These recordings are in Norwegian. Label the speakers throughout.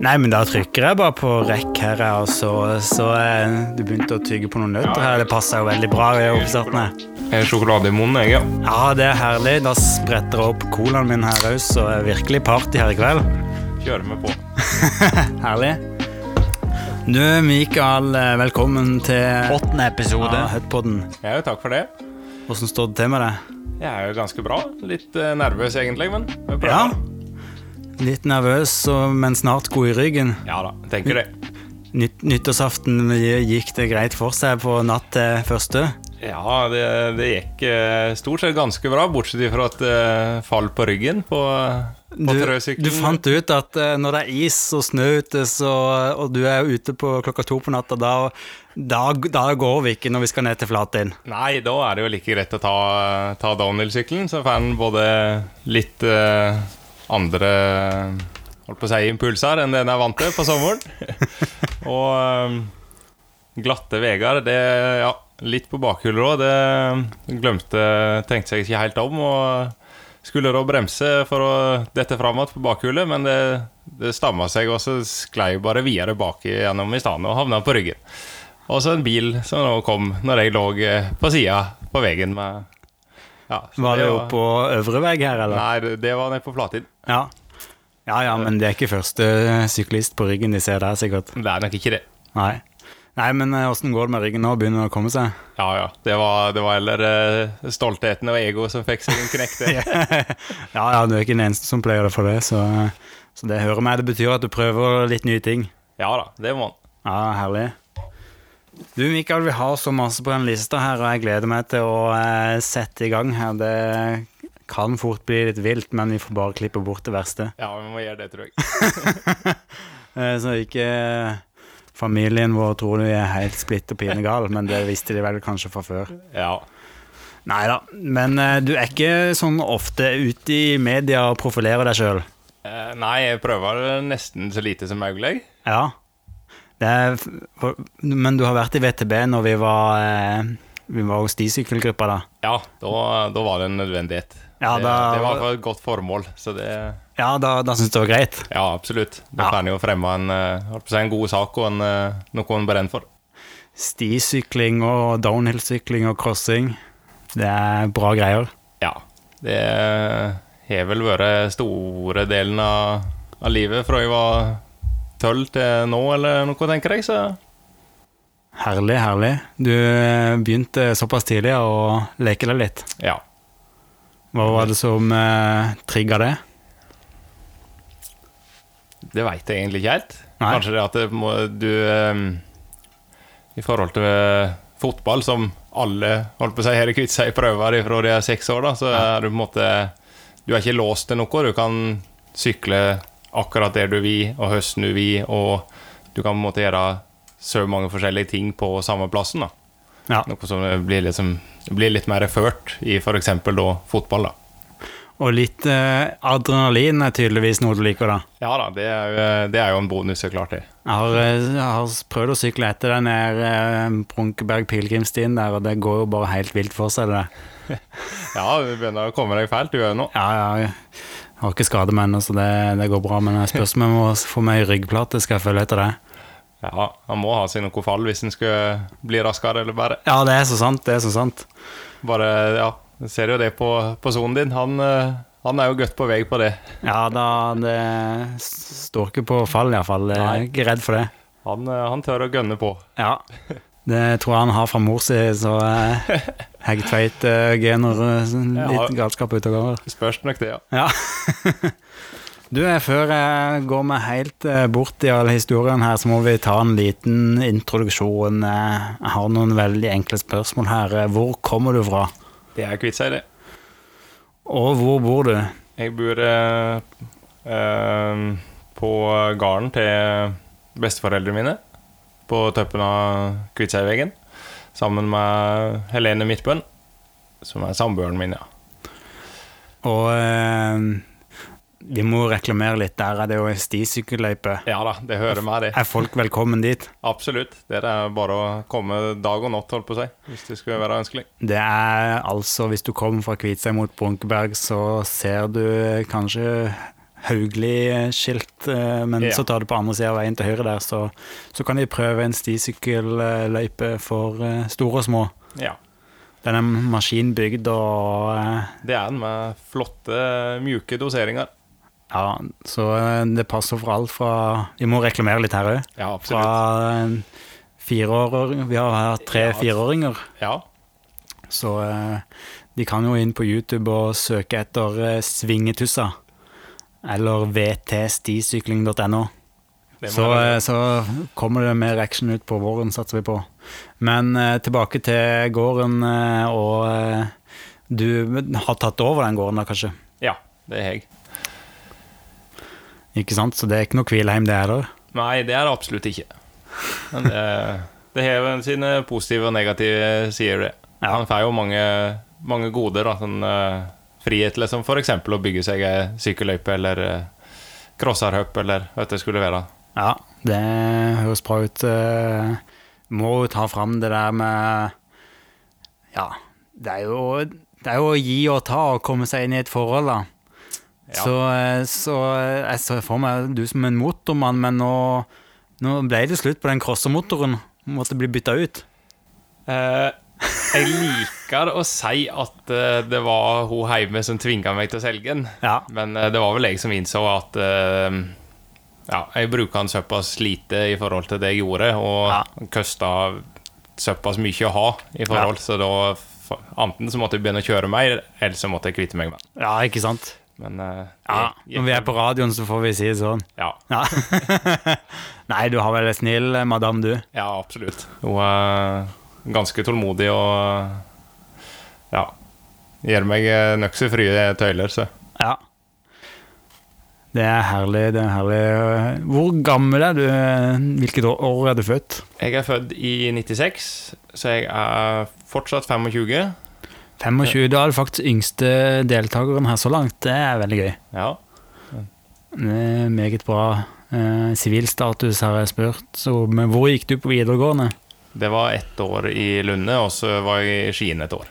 Speaker 1: Nei, men da trykker jeg bare på rekk her, ja, og så, så eh, Du begynte å tygge på noen nøtter her. Det passer jo veldig bra. i oppstarten her.
Speaker 2: Jeg er sjokolade i munnen, jeg, ja.
Speaker 1: Ja, det Eh, er herlig. Da spretter jeg opp colaen min her òg, så er det virkelig party her i kveld.
Speaker 2: Kjører meg på.
Speaker 1: Herlig. Du, Mikael, eh, velkommen til
Speaker 3: Åttende episode.
Speaker 1: Ja, Hutpodden.
Speaker 2: Ja, jo, takk for det.
Speaker 1: Hvordan står det til med deg?
Speaker 2: Jeg er jo ganske bra. Litt eh, nervøs egentlig, men
Speaker 1: Ja.
Speaker 2: vi prøver.
Speaker 1: Litt nervøs, og- men snart god i ryggen.
Speaker 2: Ja, da, tenker det.
Speaker 1: Nytt, nyttårsaften eh, gikk det greit for seg på natt til første.
Speaker 2: Ja, det, det gikk eh, stort sett ganske bra, bortsett fra et eh, fall på ryggen på, eh, på
Speaker 1: Du,
Speaker 2: trøsykkelen.
Speaker 1: du fant ut at eh, når det er is og snø ute, så, og du er ute på klokka to på natta, da, da, da går vi ikke når vi skal ned til Flatin.
Speaker 2: Nei, da er det jo like greit å ta, ta downhill-sykkelen, så får en både litt eh, andre holdt på å si, impulser enn det en er vant til på sommeren. Og eh, glatte veier, det Ja, litt på bakhuller òg. Det glemte Tenkte seg ikke helt om. Og skulle da bremse for å dette fram igjen på bakhullet, men det, det stamma seg, og så sklei jeg bare videre bak gjennom i stedet og havna på ryggen. Og så en bil som nå kom når jeg lå eh, på sida på veien med ja, så
Speaker 1: Var det jo
Speaker 2: var-
Speaker 1: på øvre vei her, eller?
Speaker 2: Nei, det- det var nede på Flatid.
Speaker 1: Ja. ja ja, men det er ikke første eh, syklist på ryggen de ser der, sikkert.
Speaker 2: Det er nok ikke det.
Speaker 1: Nei. Nei, men eh, åssen går det med ryggen nå? Begynner det å komme seg?
Speaker 2: Ja ja. Det var, det var heller eh, stoltheten og egoet som fikk seg en knekk, det.
Speaker 1: Ja ja, du er ikke den eneste som pleier det for det, så, eh, så det hører meg. Det betyr at du prøver litt nye ting.
Speaker 2: Ja da, det må han.
Speaker 1: Ja, herlig. Du, Mikael, vi har så masse på den lista her, og jeg gleder meg til å eh, sette i gang her. Det kan fort bli litt vilt, men vi får bare klippe bort det verste.
Speaker 2: Ja, vi må gjøre det, tror jeg.
Speaker 1: Eh, så ikke familien vår tror de er helt splitt og pinegal, men det visste de vel kanskje fra før.
Speaker 2: Ja.
Speaker 1: Nei da, men eh, du er ikke sånn ofte ute i media og profilerer deg sjøl.
Speaker 2: Eh, nei, jeg prøver nesten så lite som mulig.
Speaker 1: Ja. Det er, f- for, men du har vært i VTB når vi var, eh, vi var hos de sykkelgruppa, da.
Speaker 2: Ja, da, da var det en nødvendighet.
Speaker 1: Ja, da-
Speaker 2: det, det var for et godt formål, så det
Speaker 1: Ja, da, da syns jeg det var greit.
Speaker 2: Ja, absolutt. Da
Speaker 1: Ja.
Speaker 2: får en jo fremme en, eh, holdt på å si, en god sak og en, eh, noe en brenner for.
Speaker 1: Stisykling og downhill-sykling og crossing, det er bra greier.
Speaker 2: Ja. Det eh, har vel vært store delen av, av livet fra jeg var tolv til nå, eller noe, tenker jeg. Så
Speaker 1: Herlig, herlig. Du eh, begynte såpass tidlig å leke deg litt.
Speaker 2: ja.
Speaker 1: Hva var det som eh, trigga det?
Speaker 2: Det veit jeg egentlig ikke helt.
Speaker 1: Nei.
Speaker 2: Kanskje det at det må, du eh, I forhold til eh, fotball, som alle holdt på å si her i Kviteseid prøver fra de er seks år, da, så er du på en måte Du er ikke låst til noe. Du kan sykle akkurat der du vil, og høsten du vil, og du kan på en måte gjøre så mange forskjellige ting på samme plassen. da
Speaker 1: Ja.
Speaker 2: Noe som blir, liksom, blir litt mer ført i f.eks. da fotball, da.
Speaker 1: Og litt eh, adrenalin er tydeligvis noe du liker, da.
Speaker 2: Ja da, det er, jo- eh, det er jo en bonus, så klart det.
Speaker 1: Jeg har, eh, jeg har prøvd å sykle etter den der eh, Brunkeberg-pilegrimstien der, og det går jo bare helt vilt for seg, det der.
Speaker 2: Ja, du begynner å komme deg fælt, du òg nå.
Speaker 1: Ja, ja, jeg har ikke skade med ennå, så det, det går bra. Men jeg spørs om jeg må få meg ryggplate, skal jeg følge etter det.
Speaker 2: Ja, han må ha seg noe fall hvis han skulle bli raskere, eller bare
Speaker 1: Ja, det er så sant, det er så sant.
Speaker 2: Bare, ja, jeg ser jo det på, på sonen din. Han, eh, han er jo godt på vei på det.
Speaker 1: Ja, da, det s- står ikke på fall iallfall. Jeg er
Speaker 2: Nei.
Speaker 1: ikke redd for det.
Speaker 2: Han, eh, han tør å gønne på.
Speaker 1: Ja. Det tror jeg han har fra mor si, så eh, hegtveit eh, gener, eh, sånn
Speaker 2: Ja.
Speaker 1: litt galskap ute og går.
Speaker 2: Spørs nok det, ja.
Speaker 1: Ja. Du, eh, før jeg går meg helt eh, bort i all historien her, så må vi ta en liten introduksjon. Eh, Jeg har noen veldig enkle spørsmål her. Eh, Hvor kommer du fra,
Speaker 2: Det er Kviteseid, det.
Speaker 1: og hvor bor du?
Speaker 2: Jeg bor eh, eh, på gården til besteforeldrene mine. På toppen av Kviteseidveggen. Sammen med Helene Midtbøen, som er samboeren min, ja.
Speaker 1: Og eh, vi må reklamere litt. Der er det jo ei stisykkelløype.
Speaker 2: Ja da, det hører meg, det.
Speaker 1: Er folk velkommen dit?
Speaker 2: Absolutt. Det er bare å komme dag og natt, holdt på å si, hvis det skulle være ønskelig.
Speaker 1: Det er altså, hvis du kommer fra Kviteseid mot Brunkeberg, så ser du kanskje Haugli-skilt, eh, men
Speaker 2: Ja.
Speaker 1: så tar du på andre sida av veien til høyre der, så, så kan de prøve en stisykkelløype for eh, store og små.
Speaker 2: Ja.
Speaker 1: Den er maskinbygd og eh,
Speaker 2: Det er den med flotte, mjuke doseringer.
Speaker 1: Ja, så eh, det passer for alt fra Vi må reklamere litt her òg.
Speaker 2: Ja,
Speaker 1: Fra eh, fireårer Vi har hatt tre
Speaker 2: Ja.
Speaker 1: fireåringer.
Speaker 2: Ja.
Speaker 1: Så eh, de kan jo inn på YouTube og søke etter eh, Svingetussa. Eller vtstisykling.no.
Speaker 2: Det må
Speaker 1: Så,
Speaker 2: være-
Speaker 1: eh, så kommer det mer action ut på våren, satser vi på. Men eh, tilbake til gården, eh, og eh, du har tatt over den gården da, kanskje?
Speaker 2: Ja, det har jeg.
Speaker 1: Ikke sant? Så det er ikke noe hvilheim, det heller?
Speaker 2: Nei, det er det absolutt ikke. Men det, det har jo sine positive og negative sider, det.
Speaker 1: Ja.
Speaker 2: Han får jo mange, mange goder. Da, sånn, eh, frihet, liksom, for eksempel å bygge seg ei sykkelløype eller uh, crossarhopp eller hva det skulle være.
Speaker 1: Ja, det høres bra ut. Eh, Må jo ta fram det der med Ja, det er jo, det er jo å gi og ta og komme seg inn i et forhold, da.
Speaker 2: Ja.
Speaker 1: Så, eh, så eh, jeg ser for meg du som en motormann, men nå, nå ble det slutt på den crossermotoren. Måtte bli bytta ut.
Speaker 2: Eh, jeg liker å si at eh, det var hun hjemme som tvinga meg til å selge den.
Speaker 1: Ja.
Speaker 2: Men eh, det var vel jeg som innså at eh, ja, jeg bruker den såpass lite i forhold til det jeg gjorde, og
Speaker 1: Ja.
Speaker 2: den kosta såpass mye å ha i forhold, så da f- Enten så måtte jeg begynne å kjøre mer, eller så måtte jeg kvitte meg med den.
Speaker 1: ja, ikke sant?
Speaker 2: Men eh,
Speaker 1: Ja,
Speaker 2: jeg-
Speaker 1: Når vi er på radioen, så får vi si det sånn.
Speaker 2: ja,
Speaker 1: Ja. Nei, du har vel en snill eh, madam, du.
Speaker 2: ja, absolutt. Hun er ganske tålmodig og eh, ja. Gir meg eh, nokså frie tøyler, så.
Speaker 1: Ja. Det er herlig, det er herlig. Hvor gammel er du? Hvilket år- år er du født?
Speaker 2: Jeg er født i 96, så jeg er fortsatt 25.
Speaker 1: 25. Da er du faktisk yngste deltakeren her så langt. Det er veldig gøy.
Speaker 2: Ja.
Speaker 1: Det er meget bra. Eh, Sivilstatus har jeg spurt, så, men hvor gikk du på videregående?
Speaker 2: Det var ett år i Lunde, og så var jeg i Skien et år.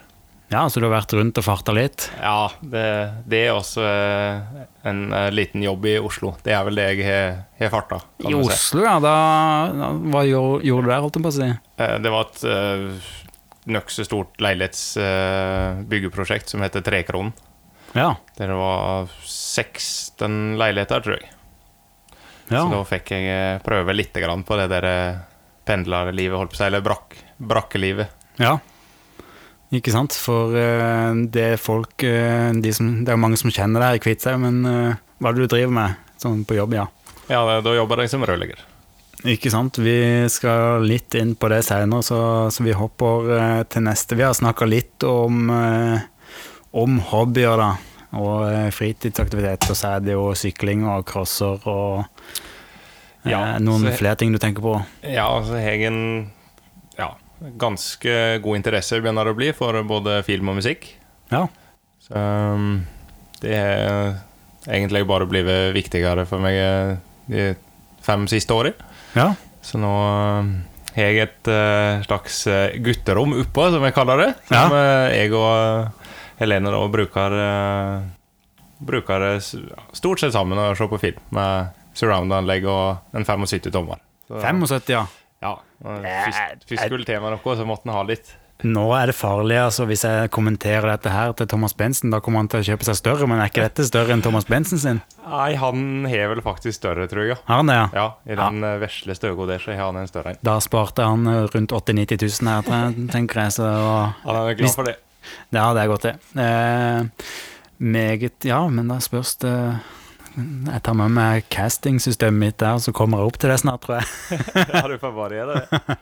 Speaker 1: Ja, så du har vært rundt og farta litt?
Speaker 2: Ja, det, det er også eh, en eh, liten jobb i Oslo. Det er vel det jeg har- har farta. kan
Speaker 1: I
Speaker 2: du si.
Speaker 1: Oslo, ja. Da, da, hva gjorde, gjorde du der, holdt jeg på å si?
Speaker 2: Eh, Det var et eh, nokså stort leilighetsbyggeprosjekt som heter Trekronen.
Speaker 1: Ja.
Speaker 2: Der det var 16 leiligheter, tror jeg.
Speaker 1: ja.
Speaker 2: Så da fikk jeg eh, prøve litt grann på det der eh, pendlerlivet, holdt på å si, eller brakk, brakkelivet.
Speaker 1: Ja, ikke sant? For eh, det er folk eh, de som, Det er mange som kjenner deg i Kviteseid, men eh, hva er det du driver med sånn på jobb? ja?
Speaker 2: Ja, da- da jobber jeg som rørlegger.
Speaker 1: Ikke sant? Vi skal litt inn på det senere, så, så vi hopper eh, til neste. Vi har snakka litt om, eh, om hobbyer, da. Og eh, fritidsaktiviteter, så er det jo sykling og crosser og eh,
Speaker 2: Ja,
Speaker 1: noen
Speaker 2: så-
Speaker 1: flere ting du tenker på.
Speaker 2: Ja, altså jeg har en ja, ganske god interesse begynner det å bli for både film og musikk.
Speaker 1: Ja.
Speaker 2: Så um, det er egentlig bare blitt viktigere for meg eh, de fem siste årene.
Speaker 1: ja.
Speaker 2: Så nå um, har jeg et eh, slags eh, gutterom oppå, som jeg kaller det. Som eh, jeg og eh, Helene da bruker, eh, bruker det s- stort sett sammen å se på film. Med surround-anlegg og en 75-tommer.
Speaker 1: 75, ja.
Speaker 2: Ja. og Først, først
Speaker 1: jeg-
Speaker 2: skulle tema noe, så måtte en ha litt.
Speaker 1: Nå er det farlig, altså. Hvis jeg kommenterer dette her til Thomas Bensen, da kommer han til å kjøpe seg større, men er ikke dette større enn Thomas Bensen sin?
Speaker 2: Nei, han har vel faktisk større, tror jeg.
Speaker 1: Har han det, ja?
Speaker 2: Ja, i den eh, vesle støgo der, så har han en større en.
Speaker 1: Da sparte han eh, rundt 80 000-90 000 her, tre- tenker jeg, så det var-
Speaker 2: Han er glad for det.
Speaker 1: det hadde jeg gått til. Eh, meget Ja, men da spørs det Jeg tar med meg castingsystemet mitt der, så kommer jeg opp til det snart, tror jeg.
Speaker 2: Ja, du får bare gjøre det.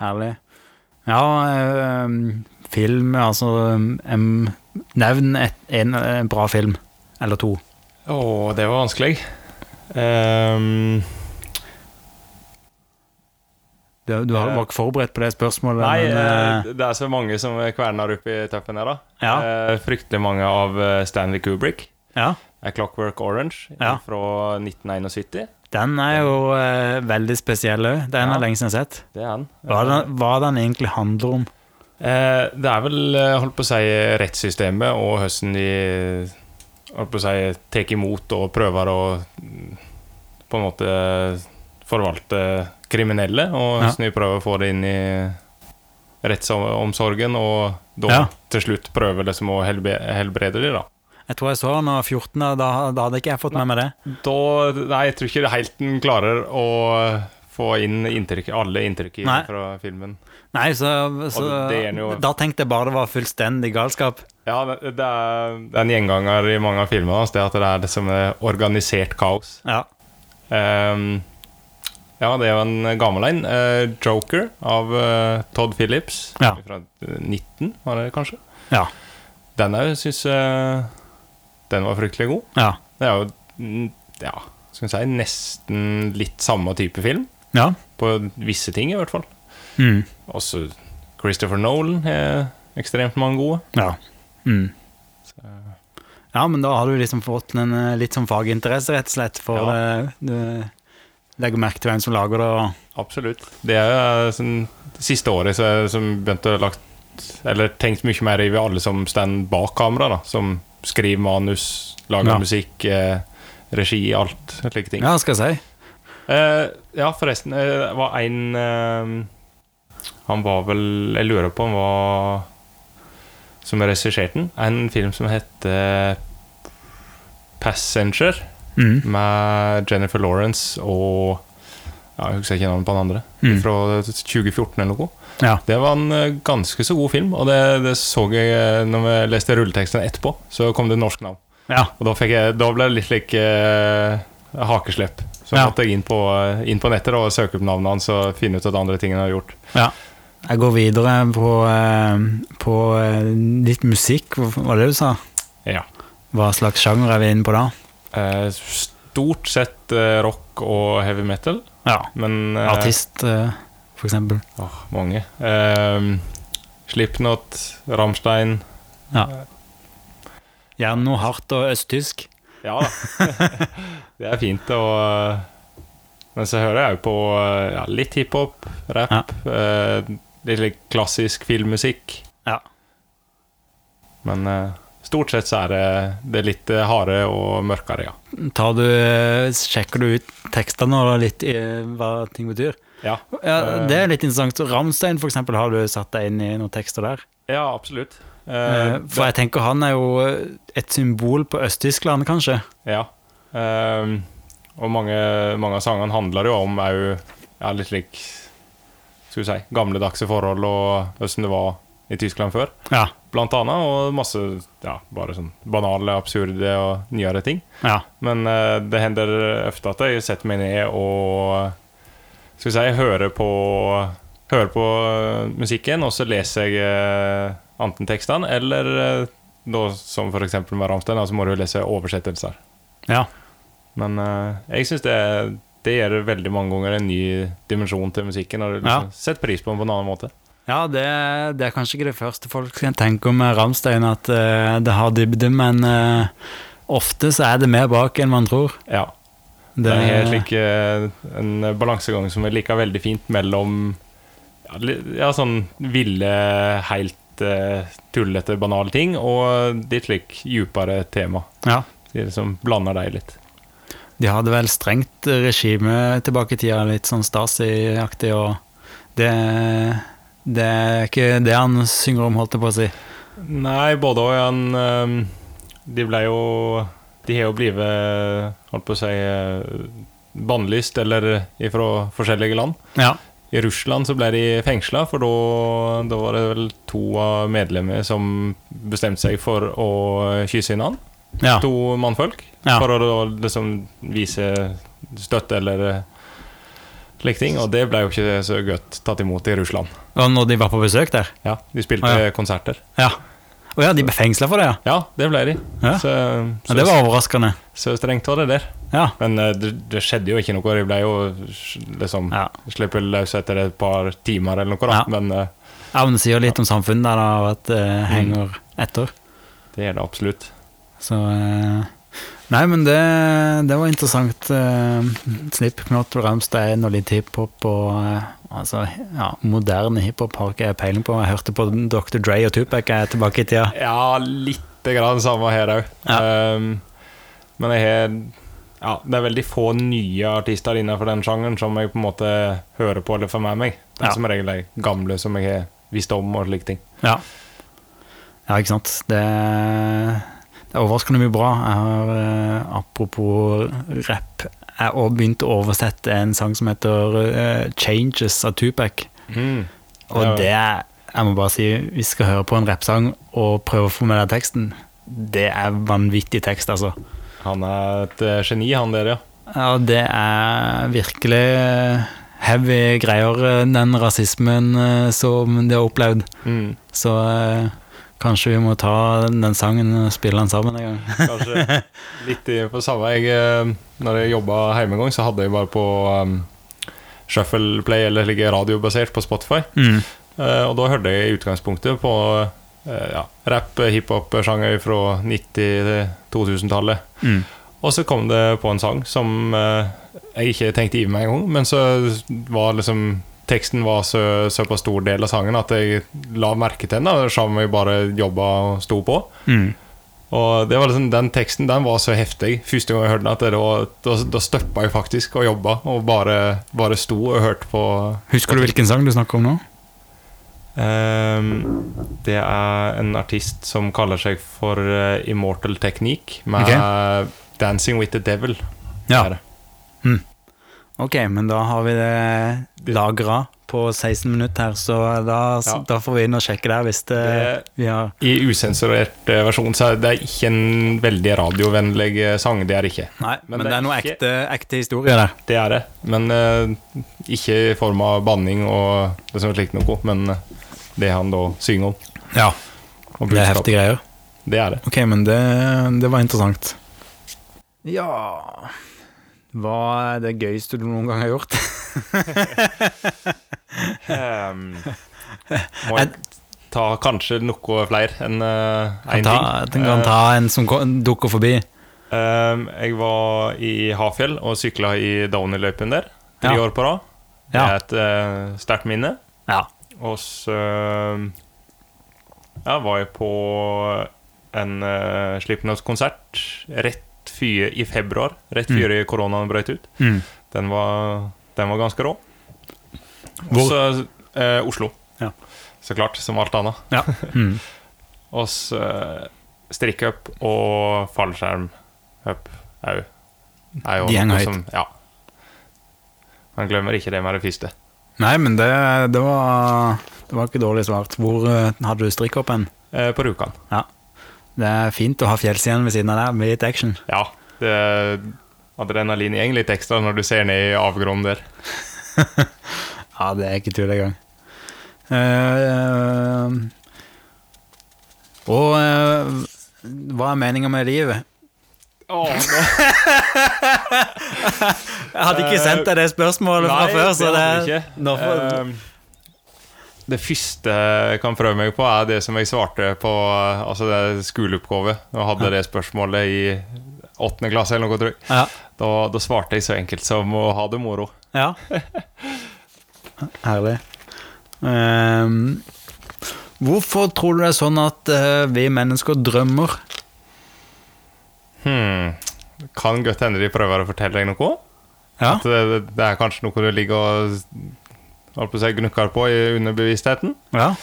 Speaker 1: Herlig. Ja, eh, film, altså em, Nevn et, en, en bra film. Eller to.
Speaker 2: Å, det var vanskelig. Ehm,
Speaker 1: Du, du har- var ikke forberedt på det spørsmålet.
Speaker 2: nei,
Speaker 1: men, eh,
Speaker 2: eh, det er så mange som kverner opp i tøffen her, da.
Speaker 1: Ja.
Speaker 2: Eh, fryktelig mange av eh, Stanley Kubrick.
Speaker 1: Ja,
Speaker 2: A Clockwork Orange eh,
Speaker 1: Ja.
Speaker 2: fra 1971.
Speaker 1: den er jo eh, veldig spesiell òg. Den
Speaker 2: Ja.
Speaker 1: er lenge siden jeg har sett.
Speaker 2: Det er han.
Speaker 1: Hva den, hva den egentlig handler om.
Speaker 2: Eh, det er vel, eh, holdt på å si, rettssystemet og hvordan de holdt på å si, tar imot og prøver å mm, på en måte forvalte kriminelle, og
Speaker 1: Ja.
Speaker 2: snu prøver å få det inn i rettsomsorgen, og da
Speaker 1: Ja.
Speaker 2: til slutt prøver liksom å helbe helbrede dem, da.
Speaker 1: Jeg tror jeg så han da var 14, og da, da hadde ikke jeg fått med meg det.
Speaker 2: Da Nei, jeg tror ikke det helt den klarer å få inn inntrykk, alle inntrykk
Speaker 1: Nei.
Speaker 2: fra filmen.
Speaker 1: Nei, så, så
Speaker 2: Og det er jo-
Speaker 1: Da tenkte jeg bare det var fullstendig galskap.
Speaker 2: Ja, det, det er det er en gjenganger i mange av filmene hans, det at det er det som er organisert kaos.
Speaker 1: Ja.
Speaker 2: Ehm, ja, det er jo en gammel en. eh, 'Joker' av eh, Todd Phillips.
Speaker 1: Ja.
Speaker 2: Fra eh, 19, var det kanskje?
Speaker 1: Ja.
Speaker 2: Den òg syns jeg Den var fryktelig god.
Speaker 1: Ja.
Speaker 2: Det er jo, mm, ja, skal vi si, nesten litt samme type film.
Speaker 1: ja.
Speaker 2: På visse ting, i hvert fall.
Speaker 1: Mm.
Speaker 2: Også Christopher Nolan er ekstremt mange gode.
Speaker 1: Ja. Mm. Ja, men da har du liksom fått en eh, litt sånn faginteresse, rett og slett, for det, du legger merke til hvem som lager det, og
Speaker 2: Absolutt. Det er jo sånn, det siste året så er det som begynte å lagt Eller tenkt mye mer over alle som står bak kamera, da. Som skriver manus, lager
Speaker 1: Ja.
Speaker 2: musikk, eh, regi, alt slike ting.
Speaker 1: Ja, skal jeg si.
Speaker 2: Eh, ja, forresten, eh, det var en eh, Han var vel Jeg lurer på om han var Som regisserte den. En film som heter Passenger,
Speaker 1: Mm.
Speaker 2: med Jennifer Lawrence og ja, Jeg husker ikke navnet på den andre.
Speaker 1: Mm.
Speaker 2: Fra 2014 eller noe.
Speaker 1: Ja.
Speaker 2: Det var en eh, ganske så god film, og det, det så jeg eh, når vi leste rulleteksten etterpå. Så kom det norsk navn.
Speaker 1: ja.
Speaker 2: Og da, fikk jeg, da ble det litt slik eh, hakeslepp. Så
Speaker 1: Ja.
Speaker 2: måtte jeg inn på, eh, inn på nettet da, og søke opp navnet hans og finne ut at andre ting han har gjort.
Speaker 1: Ja. Jeg går videre på, eh, på eh, litt musikk, hva var det du sa?
Speaker 2: Ja.
Speaker 1: Hva slags sjanger er vi inne på da?
Speaker 2: Eh, stort sett eh, rock og heavy metal,
Speaker 1: Ja.
Speaker 2: men eh,
Speaker 1: Artist, eh, for eksempel.
Speaker 2: åh, mange. Eh, Slipknot, Rammstein
Speaker 1: Gjerne noe hardt og østtysk.
Speaker 2: Ja da. det er fint. Og, eh, men så hører jeg jo på eh, ja, litt hiphop, rap, eh, litt slik klassisk filmmusikk.
Speaker 1: Ja.
Speaker 2: Men eh, stort sett så er det, det er litt eh, harde og mørkere, ja.
Speaker 1: Tar du, eh, sjekker du ut tekstene og litt eh, hva ting betyr?
Speaker 2: Ja,
Speaker 1: Ja, det er litt interessant. Ramstein, for eksempel, har du satt deg inn i noen tekster der?
Speaker 2: ja absolutt. Eh,
Speaker 1: Eh, For jeg tenker han er jo eh, et symbol på Øst-Tyskland, kanskje?
Speaker 2: Ja. Ehm, og mange, mange av sangene handler jo om er jo, ja, litt slik skal vi si, gamledagse forhold og hvordan det var i Tyskland før.
Speaker 1: Ja.
Speaker 2: Blant annet, og masse ja, bare sånn banale, absurde og nyere ting.
Speaker 1: Ja.
Speaker 2: Men eh, det hender ofte at jeg setter meg ned og skal vi si, hører på, hører på eh, musikken, og så leser jeg eh, enten tekstene eller eh, da, som f.eks. med Ramstein, da, så må du jo lese oversettelser.
Speaker 1: Ja.
Speaker 2: Men eh, jeg syns det, det gir veldig mange ganger en ny dimensjon til musikken. Og du
Speaker 1: Ja.
Speaker 2: liksom setter pris på den på en annen måte.
Speaker 1: Ja, det, det er kanskje ikke det første folk kan tenke om Ramstein, at eh, det har dybde, men eh, ofte så er det mer bak enn man tror.
Speaker 2: Ja. Det er helt slik eh, en balansegang som jeg liker veldig fint mellom ja, li- ja sånn ville, helt eh, tullete, banale ting, og litt slik djupere tema.
Speaker 1: Ja.
Speaker 2: De liksom blander deg litt.
Speaker 1: De hadde vel strengt regime tilbake i tida, litt sånn Stasi-aktig, og det, det er ikke det han synger om, holdt jeg på å si.
Speaker 2: Nei, både og. Han, ehm, de ble jo De har jo blitt holdt på å si eh, bannlyst, eller eh, ifra forskjellige land.
Speaker 1: Ja.
Speaker 2: I Russland så ble de fengsla, for da da var det vel to av medlemmer som bestemte seg for å kysse hverandre.
Speaker 1: Ja.
Speaker 2: To mannfolk.
Speaker 1: Ja.
Speaker 2: For å da liksom vise støtte eller eh, slike ting. Og det ble jo ikke så godt tatt imot i Russland.
Speaker 1: Og når de var på besøk der?
Speaker 2: Ja, De spilte
Speaker 1: Ah, ja.
Speaker 2: konserter.
Speaker 1: Ja. Å ja, de ble fengsla for det, ja.
Speaker 2: Ja, det ble de.
Speaker 1: Ja.
Speaker 2: Så,
Speaker 1: ja.
Speaker 2: så,
Speaker 1: Det var overraskende.
Speaker 2: så strengt var det der.
Speaker 1: Ja.
Speaker 2: Men eh, det, det skjedde jo ikke noe. De ble jo s- liksom
Speaker 1: Ja.
Speaker 2: sluppet løs etter et par timer eller noe. Da.
Speaker 1: Ja.
Speaker 2: Men eh,
Speaker 1: ja, men det sier jo litt om samfunnet der, da, og at det henger etter.
Speaker 2: det er det absolutt.
Speaker 1: Så eh, Nei, men det, det var interessant. eh, Slipknot og Rammstein og litt hiphop og eh, Altså, ja, moderne hiphop har ikke jeg peiling på. Jeg hørte på Dr. Dre og Tupac jeg er eh, tilbake i tida.
Speaker 2: Ja, litt lite grann samme her òg. men jeg har ja, Det er veldig få nye artister innenfor den sjangeren som jeg på en måte hører på eller får med meg. Det er
Speaker 1: Ja.
Speaker 2: som regel de gamle som jeg har visst om og slike ting.
Speaker 1: Ja. ja, ikke sant. Det, det er overraskende mye bra. Jeg har, eh, apropos rap, jeg har også begynt å oversette en sang som heter eh, 'Changes' av Tupac. Og
Speaker 2: Ja.
Speaker 1: det er, jeg må bare si, vi skal høre på en rappsang og prøve å få med den teksten. Det er vanvittig tekst, altså.
Speaker 2: Han er et eh, geni, han der, ja.
Speaker 1: Ja, det er virkelig eh, heavy greier, eh, den rasismen eh, som de har opplevd.
Speaker 2: Mm.
Speaker 1: Så eh, kanskje vi må ta den, den sangen og spille den sammen en gang.
Speaker 2: Kanskje litt i- på samme jeg, eh, Når jeg jobba hjemme en gang, så hadde jeg bare på um, Shuffle Play, eller like radiobasert, på Spotify.
Speaker 1: Mm.
Speaker 2: Eh, og da hørte jeg i utgangspunktet på eh, ja, rapp, hiphop-sjanger fra 90- til 2000-tallet.
Speaker 1: Mm.
Speaker 2: Og så kom det på en sang som eh, jeg ikke tenkte i meg engang, men så var liksom Teksten var så, såpass stor del av sangen at jeg la merke til den, da, selv om jeg bare jobba og sto på.
Speaker 1: Mm.
Speaker 2: Og det var liksom, Den teksten den var så heftig første gang jeg hørte den, at det var, da, da stoppa jeg faktisk og jobba. Og bare, bare sto og hørte på.
Speaker 1: Husker du hvilken sang du snakker om nå?
Speaker 2: Ehm, det er en artist som kaller seg for eh, Immortal Technique, med Dancing With The Devil. Er det.
Speaker 1: Ok, men da har vi det lagra på 16 minutter her, så da,
Speaker 2: Ja.
Speaker 1: da får vi inn og sjekke der hvis det,
Speaker 2: Det-
Speaker 1: vi har
Speaker 2: I usensurert eh, versjon så er det ikke en veldig radiovennlig eh, sang. Det er det ikke.
Speaker 1: Nei, men,
Speaker 2: men
Speaker 1: det
Speaker 2: det
Speaker 1: er noe
Speaker 2: er ikke-
Speaker 1: ekte, ekte historie der.
Speaker 2: Det er det, men eh, ikke i form av banning og det som er slikt noe, men eh, det han da synger om.
Speaker 1: Ja,
Speaker 2: Og
Speaker 1: det er
Speaker 2: budskap.
Speaker 1: heftige greier.
Speaker 2: Det er det.
Speaker 1: Ok, men det, det var interessant. Ja Hva er det gøyeste du noen gang har gjort?
Speaker 2: Ehm, må jeg ta kanskje noe flere enn eh,
Speaker 1: Kan
Speaker 2: én
Speaker 1: ta,
Speaker 2: ting?
Speaker 1: den kan ta en som ko- dukker forbi.
Speaker 2: Eh, ehm, jeg var i Hafjell og sykla i Downey-løypen der tre
Speaker 1: Ja.
Speaker 2: år på rad. Det
Speaker 1: Ja.
Speaker 2: er et eh, sterkt minne.
Speaker 1: Ja.
Speaker 2: Og så eh, ja, var jeg på en uh, Slipknot-konsert rett fyr i februar, rett
Speaker 1: Mm.
Speaker 2: før koronaen brøt ut.
Speaker 1: Mm.
Speaker 2: Den var, den var ganske rå.
Speaker 1: Hvor?
Speaker 2: Og så eh, Oslo.
Speaker 1: Ja.
Speaker 2: Så klart, som alt annet.
Speaker 1: Ja. Mm.
Speaker 2: Og så eh, strikk-up og fallskjerm-up au. Er
Speaker 1: De henger
Speaker 2: noe
Speaker 1: høyt.
Speaker 2: som- Ja. Man glemmer ikke det med det første.
Speaker 1: Nei, men det, det var Det var ikke dårlig svart. Hvor eh, hadde du strikk opp hen?
Speaker 2: Eh, på Rjukan.
Speaker 1: Det er fint å ha fjellsiden ved siden av der, med litt action.
Speaker 2: Ja. Det, adrenalin går litt ekstra når du ser ned i avgrunnen der.
Speaker 1: Ja, det er ikke tull engang. Uh, og eh, hva er meninga med livet? Jeg hadde ikke
Speaker 2: Eh,
Speaker 1: sendt deg det spørsmålet fra før, så det,
Speaker 2: hadde vi ikke.
Speaker 1: nå får-
Speaker 2: Ehm, det første jeg kan prøve meg på, er det som jeg svarte på eh, altså det er skoleoppgave. Nå hadde jeg det spørsmålet i åttende klasse, eller noe, tror jeg.
Speaker 1: Eh, ja.
Speaker 2: Da, da svarte jeg så enkelt som å ha det moro.
Speaker 1: Ja. Herlig. Ehm, hvorfor tror du det er sånn at eh, vi mennesker drømmer?
Speaker 2: Hmm. Kan godt hende de prøver å fortelle deg noe.
Speaker 1: Ja.
Speaker 2: At det, det er kanskje noe du ligger og holdt på å si, gnukker på i underbevisstheten.
Speaker 1: ja.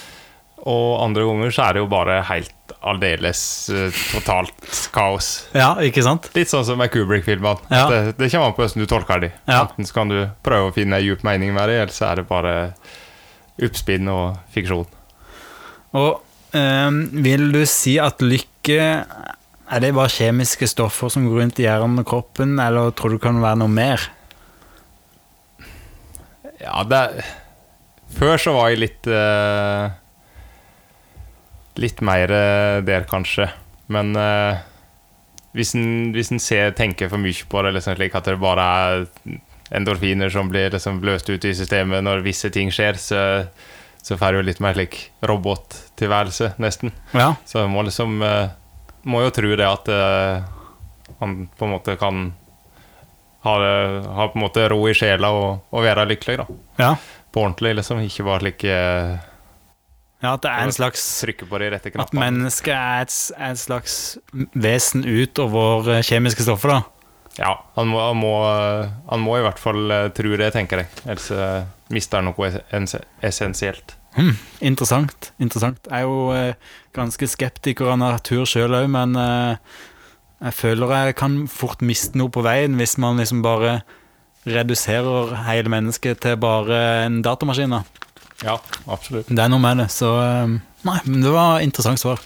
Speaker 2: Og andre ganger så er det jo bare helt aldeles eh, totalt kaos.
Speaker 1: ikke sant?
Speaker 2: Litt sånn som med Kubrick-filmene.
Speaker 1: Ja.
Speaker 2: Det, det kommer an på hvordan du tolker de.
Speaker 1: Ja.
Speaker 2: Enten så kan du prøve å finne en djup mening med det, eller så er det bare oppspinn og fiksjon.
Speaker 1: Og ehm, vil du si at lykke Er det bare kjemiske stoffer som går rundt i hjernen og kroppen, eller tror du det kan være noe mer?
Speaker 2: Ja, det er Før så var jeg litt eh, Litt mer eh, der, kanskje. Men eh, hvis en, hvis en ser, tenker for mye på det, liksom slik at det bare er endorfiner som blir liksom løst ut i systemet når visse ting skjer, så, så får du jo litt mer slik robottilværelse, nesten.
Speaker 1: Ja.
Speaker 2: Så jeg må liksom eh, Må jo tro det at eh, han på en måte kan ha, det, ha på en måte ro i sjela og, og være lykkelig, da.
Speaker 1: Ja.
Speaker 2: På ordentlig, liksom. Ikke bare like eh,
Speaker 1: Ja, at det er en slags
Speaker 2: Trykke på de rette
Speaker 1: At
Speaker 2: knappene.
Speaker 1: mennesket er et, s- er et slags vesen utover eh, kjemiske stoffer, da.
Speaker 2: Ja, han må, han, må, eh, han må i hvert fall eh, tro det, tenker jeg. Ellers eh, mister han noe es- essensielt.
Speaker 1: Interessant. interessant. Jeg er jo eh, ganske skeptiker av natur sjøl òg, men eh, jeg føler jeg kan fort miste noe på veien hvis man liksom bare reduserer hele mennesket til bare en datamaskin. da.
Speaker 2: Ja, absolutt.
Speaker 1: Det er noe med det, så eh, Nei, men det var et interessant svar.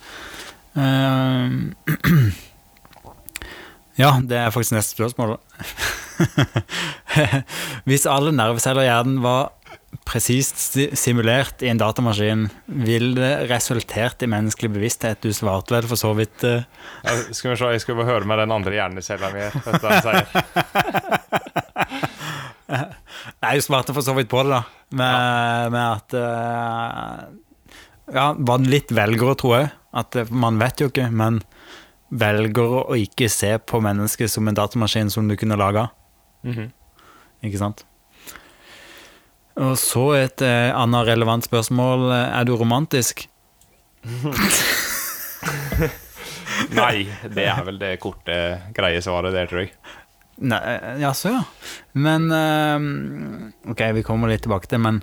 Speaker 1: Eh, ja, det er faktisk neste spørsmål. da. Hvis alle nerveceller i hjernen var presist si- simulert i en datamaskin, ville det resultert i menneskelig bevissthet? Du svarte vel for så vidt eh,
Speaker 2: Ja, skal vi se, Jeg skal bare høre med den andre hjernecella mi. vet du hva han sier.
Speaker 1: Nei, du svarte for så vidt på det, da. Med, med at eh, Ja, var det litt velgere, tror jeg. At eh, man vet jo ikke, men velger å ikke se på mennesket som en datamaskin som du kunne laga.
Speaker 2: Mhm.
Speaker 1: Ikke sant? Og så et eh, annet relevant spørsmål. Er du romantisk?
Speaker 2: Nei, det er vel det korte, greie svaret der, tror jeg.
Speaker 1: Nei, eh, jaså, ja. Men eh, Ok, vi kommer litt tilbake til men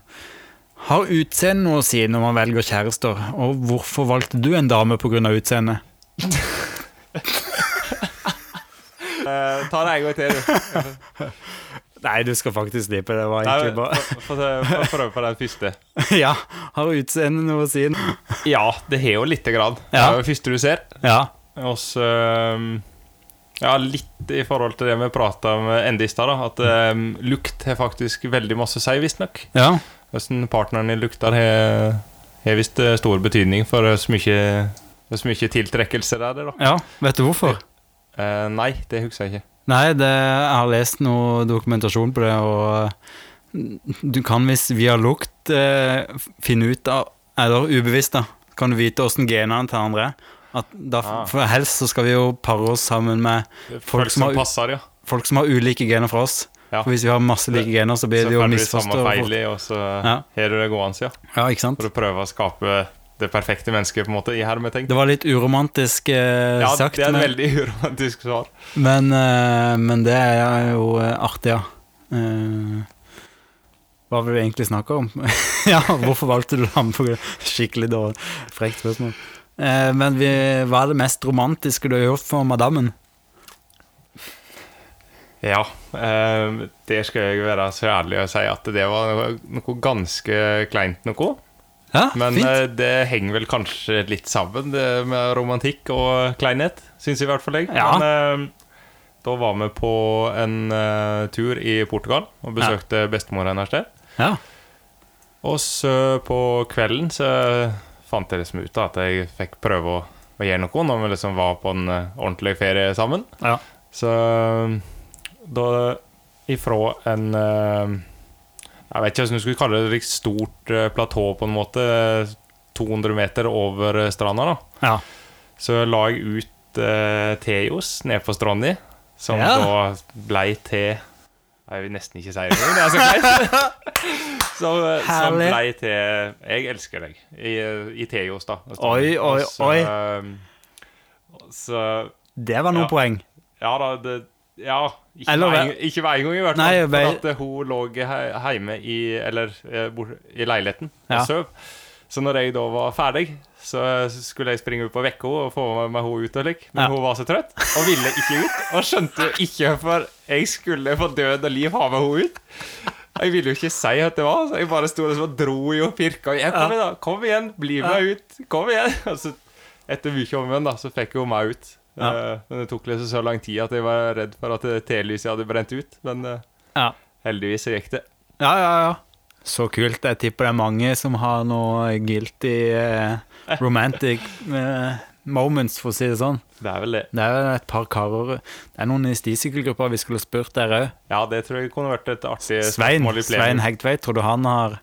Speaker 1: har utseende noe å si når man velger kjærester? Og hvorfor valgte du en dame pga. utseendet?
Speaker 2: Eh, ta det en gang til, du.
Speaker 1: Nei, du skal faktisk slippe. Det var
Speaker 2: Nei,
Speaker 1: egentlig
Speaker 2: Få
Speaker 1: bare
Speaker 2: få- få prøve på den første.
Speaker 1: Ja, har utseendet noe å si?
Speaker 2: Ja, det har jo lite grad. Det
Speaker 1: Ja.
Speaker 2: er jo det første du ser.
Speaker 1: Ja.
Speaker 2: Og så ehm, Ja, litt i forhold til det vi prata om enda i stad, da, at ehm, lukt har faktisk veldig masse å si, visstnok.
Speaker 1: ja.
Speaker 2: Hvordan partneren din lukter, har- har visst eh, stor betydning for så mye, hvor så mye tiltrekkelse det er der, da.
Speaker 1: Ja, vet du hvorfor?
Speaker 2: Eh, nei, det husker jeg ikke.
Speaker 1: Nei, det, jeg har lest noe dokumentasjon på det, og mm, du kan hvis via lukt eh, finne ut av Eller ubevisst, da. Kan du vite åssen genene til andre er. At da,
Speaker 2: Ah.
Speaker 1: for helst så skal vi jo pare oss sammen med
Speaker 2: Folk,
Speaker 1: Folk som
Speaker 2: som
Speaker 1: har-
Speaker 2: passer, ja.
Speaker 1: folk som har ulike gener fra oss.
Speaker 2: Ja.
Speaker 1: For hvis vi har masse like gener, så blir
Speaker 2: Så
Speaker 1: det jo
Speaker 2: får du samme
Speaker 1: misforstått.
Speaker 2: feil i, og så
Speaker 1: Ja.
Speaker 2: har du det gående, ja.
Speaker 1: Ja, ikke sant?
Speaker 2: For å prøve å skape det perfekte mennesket, på en måte, i hermetegn.
Speaker 1: Det var litt uromantisk eh,
Speaker 2: Ja,
Speaker 1: sagt.
Speaker 2: det er
Speaker 1: men-
Speaker 2: et veldig uromantisk svar.
Speaker 1: Men, eh, men det er jo eh, artig, ja. Eh, hva vil du egentlig snakke om? ja, hvorfor valgte du ham? På grunn- Skikkelig dårlig, frekt spørsmål. Eh, men vi, hva er det mest romantiske du har gjort for madammen?
Speaker 2: Ja, eh, der skal jeg være så ærlig og si at det var noe, noe ganske kleint noe.
Speaker 1: Ja, Ah,
Speaker 2: Men
Speaker 1: fint.
Speaker 2: eh, det henger vel kanskje litt sammen det med romantikk og kleinhet, syns i hvert fall jeg.
Speaker 1: Ja.
Speaker 2: Men eh, da var vi på en eh, tur i Portugal og besøkte bestemor hennes der.
Speaker 1: ja.
Speaker 2: Og så på kvelden så fant jeg liksom ut da at jeg fikk prøve å, å gjøre noe når vi liksom var på en eh, ordentlig ferie sammen.
Speaker 1: Ja.
Speaker 2: Så eh, da ifra en eh, Jeg vet ikke hvordan du skulle kalle det, et litt stort eh, platå, på en måte, 200 meter over eh, stranda, da,
Speaker 1: ja.
Speaker 2: så la jeg ut uh, Theos ned på stranda, som
Speaker 1: Ja.
Speaker 2: da blei til Jeg vil nesten ikke si det engang, det er så greit. Som, eh, som
Speaker 1: Herlig.
Speaker 2: blei til 'Jeg elsker deg' i, eh, i Theos, da.
Speaker 1: Oi, oi,
Speaker 2: Og så,
Speaker 1: oi.
Speaker 2: eh, så
Speaker 1: Det var noen
Speaker 2: Ja.
Speaker 1: poeng.
Speaker 2: ja da, det Ja. Ikke,
Speaker 1: Eller
Speaker 2: hver,
Speaker 1: hver-
Speaker 2: en- ikke hver gang, i hvert fall.
Speaker 1: Nei,
Speaker 2: for
Speaker 1: hver-
Speaker 2: at eh, hun lå he- hjemme i Eller eh, bor- i leiligheten
Speaker 1: Ja.
Speaker 2: og sov. Så når jeg da var ferdig, så skulle jeg springe opp og vekke henne og få med meg henne ut. og lik Men
Speaker 1: Ja.
Speaker 2: hun var så trøtt og ville ikke ut. Og skjønte jo ikke hvorfor jeg skulle på død og liv ha med henne ut. Jeg ville jo ikke si at det var, så jeg bare sto liksom og dro i og pirka. Jeg, kom, igjen, da, kom igjen, bli med ut! Kom igjen! Og så, etter mye om igjen, da, så fikk hun meg ut.
Speaker 1: Ja.
Speaker 2: Eh, men det tok liksom så lang tid at jeg var redd for at det telyset hadde brent ut. Men eh,
Speaker 1: Ja.
Speaker 2: heldigvis så gikk det.
Speaker 1: ja, ja, ja. Så kult. Jeg tipper det er mange som har noe guilty eh, romantic eh, moments, for å si det sånn.
Speaker 2: Det er vel det.
Speaker 1: Det er et par karer Det er noen i stisykkelgruppa vi skulle spurt der òg.
Speaker 2: Ja, det tror jeg kunne vært et artig
Speaker 1: Svein,
Speaker 2: spørsmål i
Speaker 1: Svein
Speaker 2: plenum.
Speaker 1: Hegtveit, tror du han har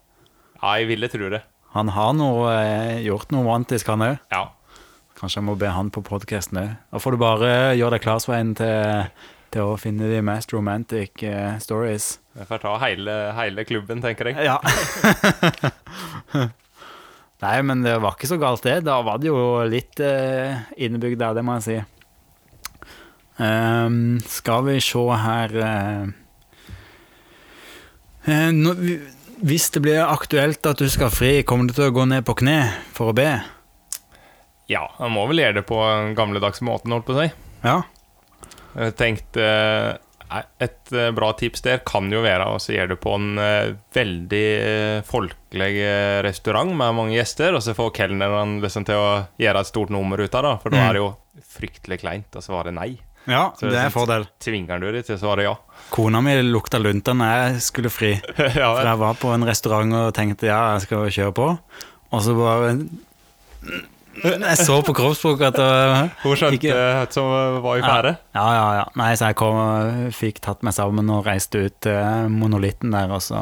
Speaker 2: Ja, jeg ville tro det.
Speaker 1: Han har noe, eh, gjort noe romantisk, han òg?
Speaker 2: Ja.
Speaker 1: Kanskje jeg må be han på podkasten òg. Da får du bare gjøre deg klar, Svein, til, til å finne de mest romantic eh, stories.
Speaker 2: Jeg får ta hele, hele klubben, tenker jeg.
Speaker 1: Ja. Nei, men det var ikke så galt, det. Da var det jo litt eh, innebygd der, det må jeg si. Ehm, skal vi se her eh. Eh, nå- vi- Hvis det blir aktuelt at du skal ha fri, kommer du til å gå ned på kne for å be?
Speaker 2: Ja, man må vel gjøre det på den gamledags måten, holdt på å si.
Speaker 1: Ja.
Speaker 2: Jeg tenkte eh, et eh, bra tips der kan jo være å så gjøre det på en eh, veldig eh, folkelig eh, restaurant med mange gjester, og så får kelneren liksom til å gjøre et stort nummer ut av det, for da
Speaker 1: Mm.
Speaker 2: er det jo fryktelig kleint å svare nei.
Speaker 1: ja,
Speaker 2: Så
Speaker 1: det er en
Speaker 2: sant.
Speaker 1: fordel.
Speaker 2: Tvinger du dem til å svare ja?
Speaker 1: Kona mi lukta lunta når jeg skulle fri.
Speaker 2: ja
Speaker 1: For jeg var på en restaurant og tenkte ja, jeg skal kjøre på. Og så bare Jeg så på kroppsspråket at det-
Speaker 2: Hun skjønte
Speaker 1: Ikke-
Speaker 2: hva som var i ferde.
Speaker 1: Ja, ja, ja. Nei, så jeg kom, og fikk tatt meg sammen og reiste ut til monolitten der, og så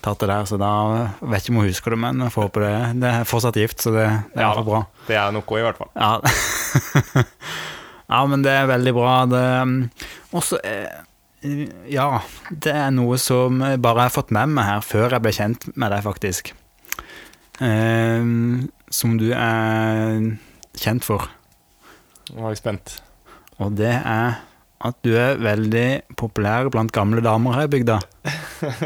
Speaker 1: tatt det der. Så da vet ikke om hun husker det, men jeg får håpe det. Det er fortsatt gift, så det, det er
Speaker 2: Ja
Speaker 1: iallfall bra.
Speaker 2: Det er noe, i hvert fall.
Speaker 1: Ja. ja, men det er veldig bra. Det mm, også eh, Ja, det er noe som jeg bare har fått med meg her før jeg ble kjent med deg, faktisk. Ehm, som du er kjent for.
Speaker 2: Nå er jeg spent.
Speaker 1: Og det er at du er veldig populær blant gamle damer her i bygda.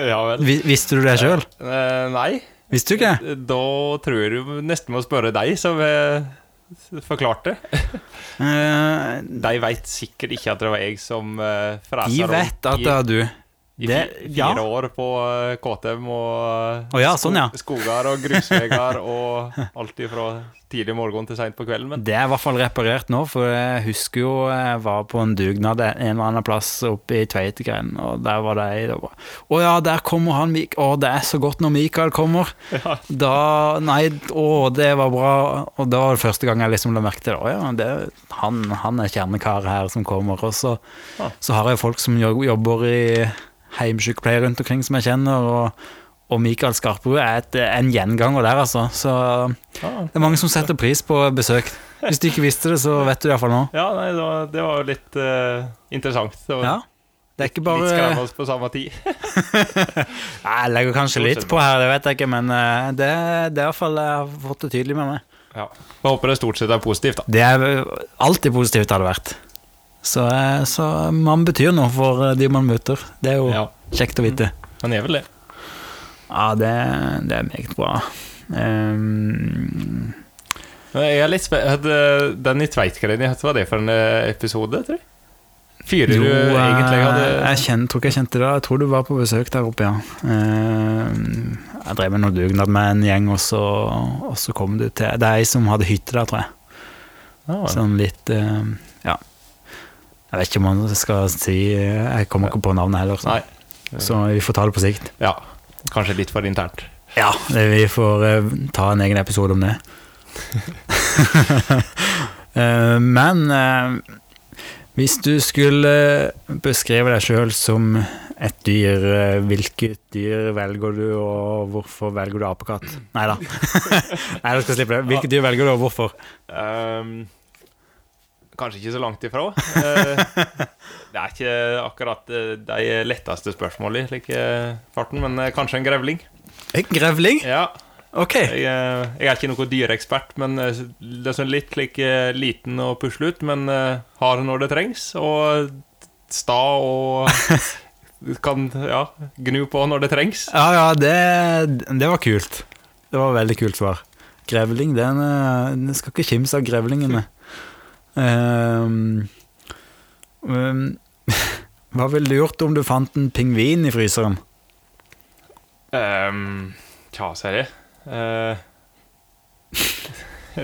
Speaker 2: ja vel.
Speaker 1: Vi- Visste du det sjøl?
Speaker 2: Eh, nei,
Speaker 1: Visste du ikke?
Speaker 2: da tror jeg du nesten må spørre deg, som eh, forklarte.
Speaker 1: Eh,
Speaker 2: De veit sikkert ikke at det var jeg som uh, fresa
Speaker 1: de vet at det er du.
Speaker 2: i, i
Speaker 1: det-
Speaker 2: fi-
Speaker 1: ja.
Speaker 2: fire år på eh, KTM og eh,
Speaker 1: Å ja, sånn, ja.
Speaker 2: skoger og grusveier og alt ifra tidlig morgen til seint på kvelden. Men
Speaker 1: Det er i hvert fall reparert nå, for jeg husker jo jeg var på en dugnad en eller annen plass oppe i Tveitegren, og der var det ei det var- Å ja, der kommer han Mik- Å, det er så godt når Mikael kommer. Da Nei, å, det var bra. Og da var det første gang jeg liksom la merke til det. Å ja, det, han, han er kjernekar her som kommer. Og så,
Speaker 2: Ja.
Speaker 1: så har jeg folk som jo- jobber i heimsykepleie rundt omkring som jeg kjenner, og, og Mikael Skarperud er et, en gjenganger der, altså. Så
Speaker 2: ja,
Speaker 1: det er mange som setter pris på besøk. Hvis du ikke visste det, så vet du det iallfall nå.
Speaker 2: ja nei, det var, det var jo litt eh, interessant. Det var
Speaker 1: Ja. Det er ikke
Speaker 2: Litt skremme
Speaker 1: bare
Speaker 2: oss på samme tid.
Speaker 1: Nei, Jeg legger kanskje litt på her, det vet jeg ikke, men eh, det, det er iallfall jeg har fått det tydelig med meg.
Speaker 2: Ja. Jeg håper det stort sett er positivt, da.
Speaker 1: Det er alltid positivt, har det vært. Så, eh, så man betyr noe for eh, de man møter. Det er jo
Speaker 2: Ja,
Speaker 1: kjekt å vite.
Speaker 2: men jeg er vel det.
Speaker 1: Ja, det, det er meget bra. Ehm,
Speaker 2: Men Jeg er litt spe- hadde- Den i Tveitgreni, hva var det for en eh, episode, tror jeg? Fyrer
Speaker 1: jo,
Speaker 2: du egentlig
Speaker 1: eh,
Speaker 2: hadde
Speaker 1: jeg kjen- tror ikke jeg kjente det. Jeg tror du var på besøk der oppe, ja. Ehm, jeg drev med noe dugnad med en gjeng, og så, og så kom du til Det er ei som hadde hytte der, tror jeg.
Speaker 2: Ja,
Speaker 1: Sånn litt ehm, Ja. Jeg vet ikke om man skal si eh, Jeg kommer ikke på navnet heller, så,
Speaker 2: Nei.
Speaker 1: så vi får ta det på sikt.
Speaker 2: Ja, kanskje litt for internt.
Speaker 1: Ja, det, vi får eh, ta en egen episode om det. Eh, men eh, hvis du skulle beskrive deg sjøl som et dyr, eh, hvilket dyr velger du, og hvorfor velger du apekatt? Nei da. Nei, du skal slippe det. Hvilket dyr velger du, og hvorfor?
Speaker 2: Ehm, kanskje ikke så langt ifra. Eh, det er ikke akkurat eh, de letteste spørsmålene i like farten, men eh, kanskje en grevling.
Speaker 1: En grevling?
Speaker 2: Ja,
Speaker 1: Ok.
Speaker 2: jeg, eh, jeg er ikke noen dyreekspert, men eh, det er sånn litt like, eh, liten å pusle ut, men eh, har når det trengs, og sta og kan ja, gnu på når det trengs.
Speaker 1: Ja ja, det, det var kult. Det var veldig kult svar. Grevling, den, eh, den skal ikke kimse av grevlingene. Ehm, ehm, hva ville du gjort om du fant en pingvin i fryseren?
Speaker 2: Um, tja, ser jeg. Uh,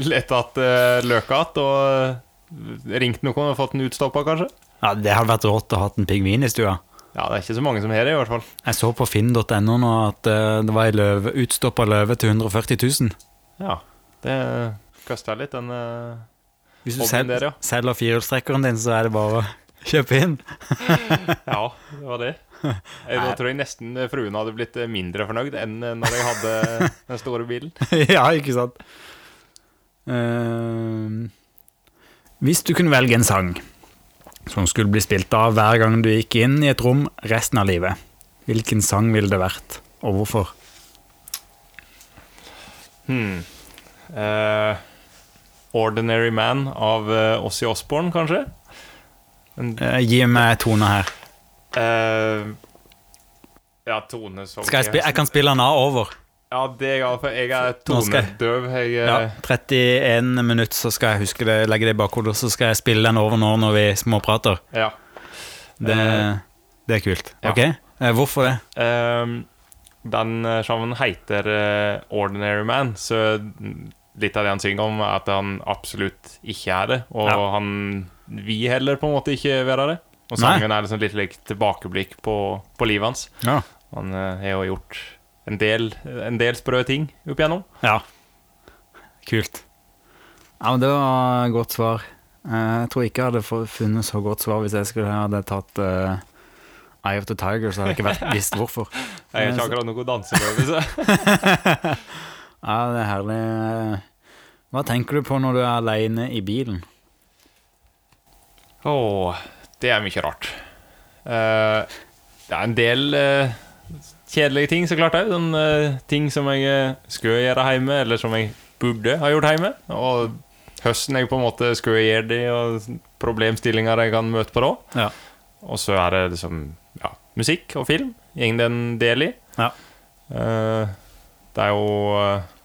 Speaker 2: Lette att uh, løka att og eh, ringt noen og fått den utstoppa, kanskje.
Speaker 1: Ja, Det hadde vært rått å ha en pingvin i stua.
Speaker 2: Ja, det er ikke så mange som har det, i hvert fall.
Speaker 1: Jeg så på finn.no nå at eh, det var ei løve, utstoppa løve til 140 000.
Speaker 2: Ja, det kosta litt, den eh,
Speaker 1: Hvis du
Speaker 2: Hobbyen
Speaker 1: sel
Speaker 2: der, ja.
Speaker 1: selger firehjulstrekkeren din, så er det bare å kjøpe inn.
Speaker 2: Ja, det var det. Jeg, da tror jeg nesten eh, fruen hadde blitt mindre fornøyd enn eh, når jeg hadde den store bilen.
Speaker 1: ja, ikke sant? Eh, hvis du kunne velge en sang som skulle bli spilt av hver gang du gikk inn i et rom resten av livet, hvilken sang ville det vært, og hvorfor?
Speaker 2: Hmm. Eh, 'Ordinary Man' av eh, Ozzy Osbourne, kanskje?
Speaker 1: Eh, gi meg tone her.
Speaker 2: Eh, ja, Tone som
Speaker 1: Skal jeg, spi jeg kan spille den av over.
Speaker 2: Ja, det er jeg glad for. Jeg er
Speaker 1: Nå skal jeg-
Speaker 2: tonedøv. Jeg, eh,
Speaker 1: Ja, 31 minutter, så skal jeg huske det, legge det i bakhodet, og så skal jeg spille den over nå når vi småprater.
Speaker 2: ja.
Speaker 1: Det,
Speaker 2: Eh.
Speaker 1: det er kult.
Speaker 2: Ja.
Speaker 1: Ok, Eh, hvorfor det?
Speaker 2: Ehm, den eh, sangen heter eh, 'Ordinary Man', så litt av det han synger om, er at han absolutt ikke er det. Og
Speaker 1: Ja.
Speaker 2: han vil heller på en måte ikke være det. Og
Speaker 1: Nei.
Speaker 2: sangen er liksom litt lik tilbakeblikk på, på livet hans.
Speaker 1: Ja.
Speaker 2: Han eh, har jo gjort en del, en del sprø ting opp igjennom.
Speaker 1: Ja. Kult. Ja, men det var et godt svar. Eh, Jeg tror ikke jeg hadde få- funnet så godt svar hvis jeg skulle hadde tatt eh, Eye of the Tiger, så hadde jeg ikke vært, visst hvorfor.
Speaker 2: Jeg er
Speaker 1: Eh,
Speaker 2: ikke
Speaker 1: så-
Speaker 2: akkurat noe danseøvelse.
Speaker 1: Ja, det er herlig. Hva tenker du på når du er aleine i bilen?
Speaker 2: Åh, det er mye rart. Eh, det er en del eh, kjedelige ting, så klart òg. Sånne eh, ting som jeg eh, skulle gjøre hjemme, eller som jeg burde ha gjort hjemme. Og høsten jeg på en måte skulle gjøre det, og problemstillinger jeg kan møte på da.
Speaker 1: Ja.
Speaker 2: Og så er det liksom ja, musikk og film. Går det en del i.
Speaker 1: Ja.
Speaker 2: Eh, det er jo eh,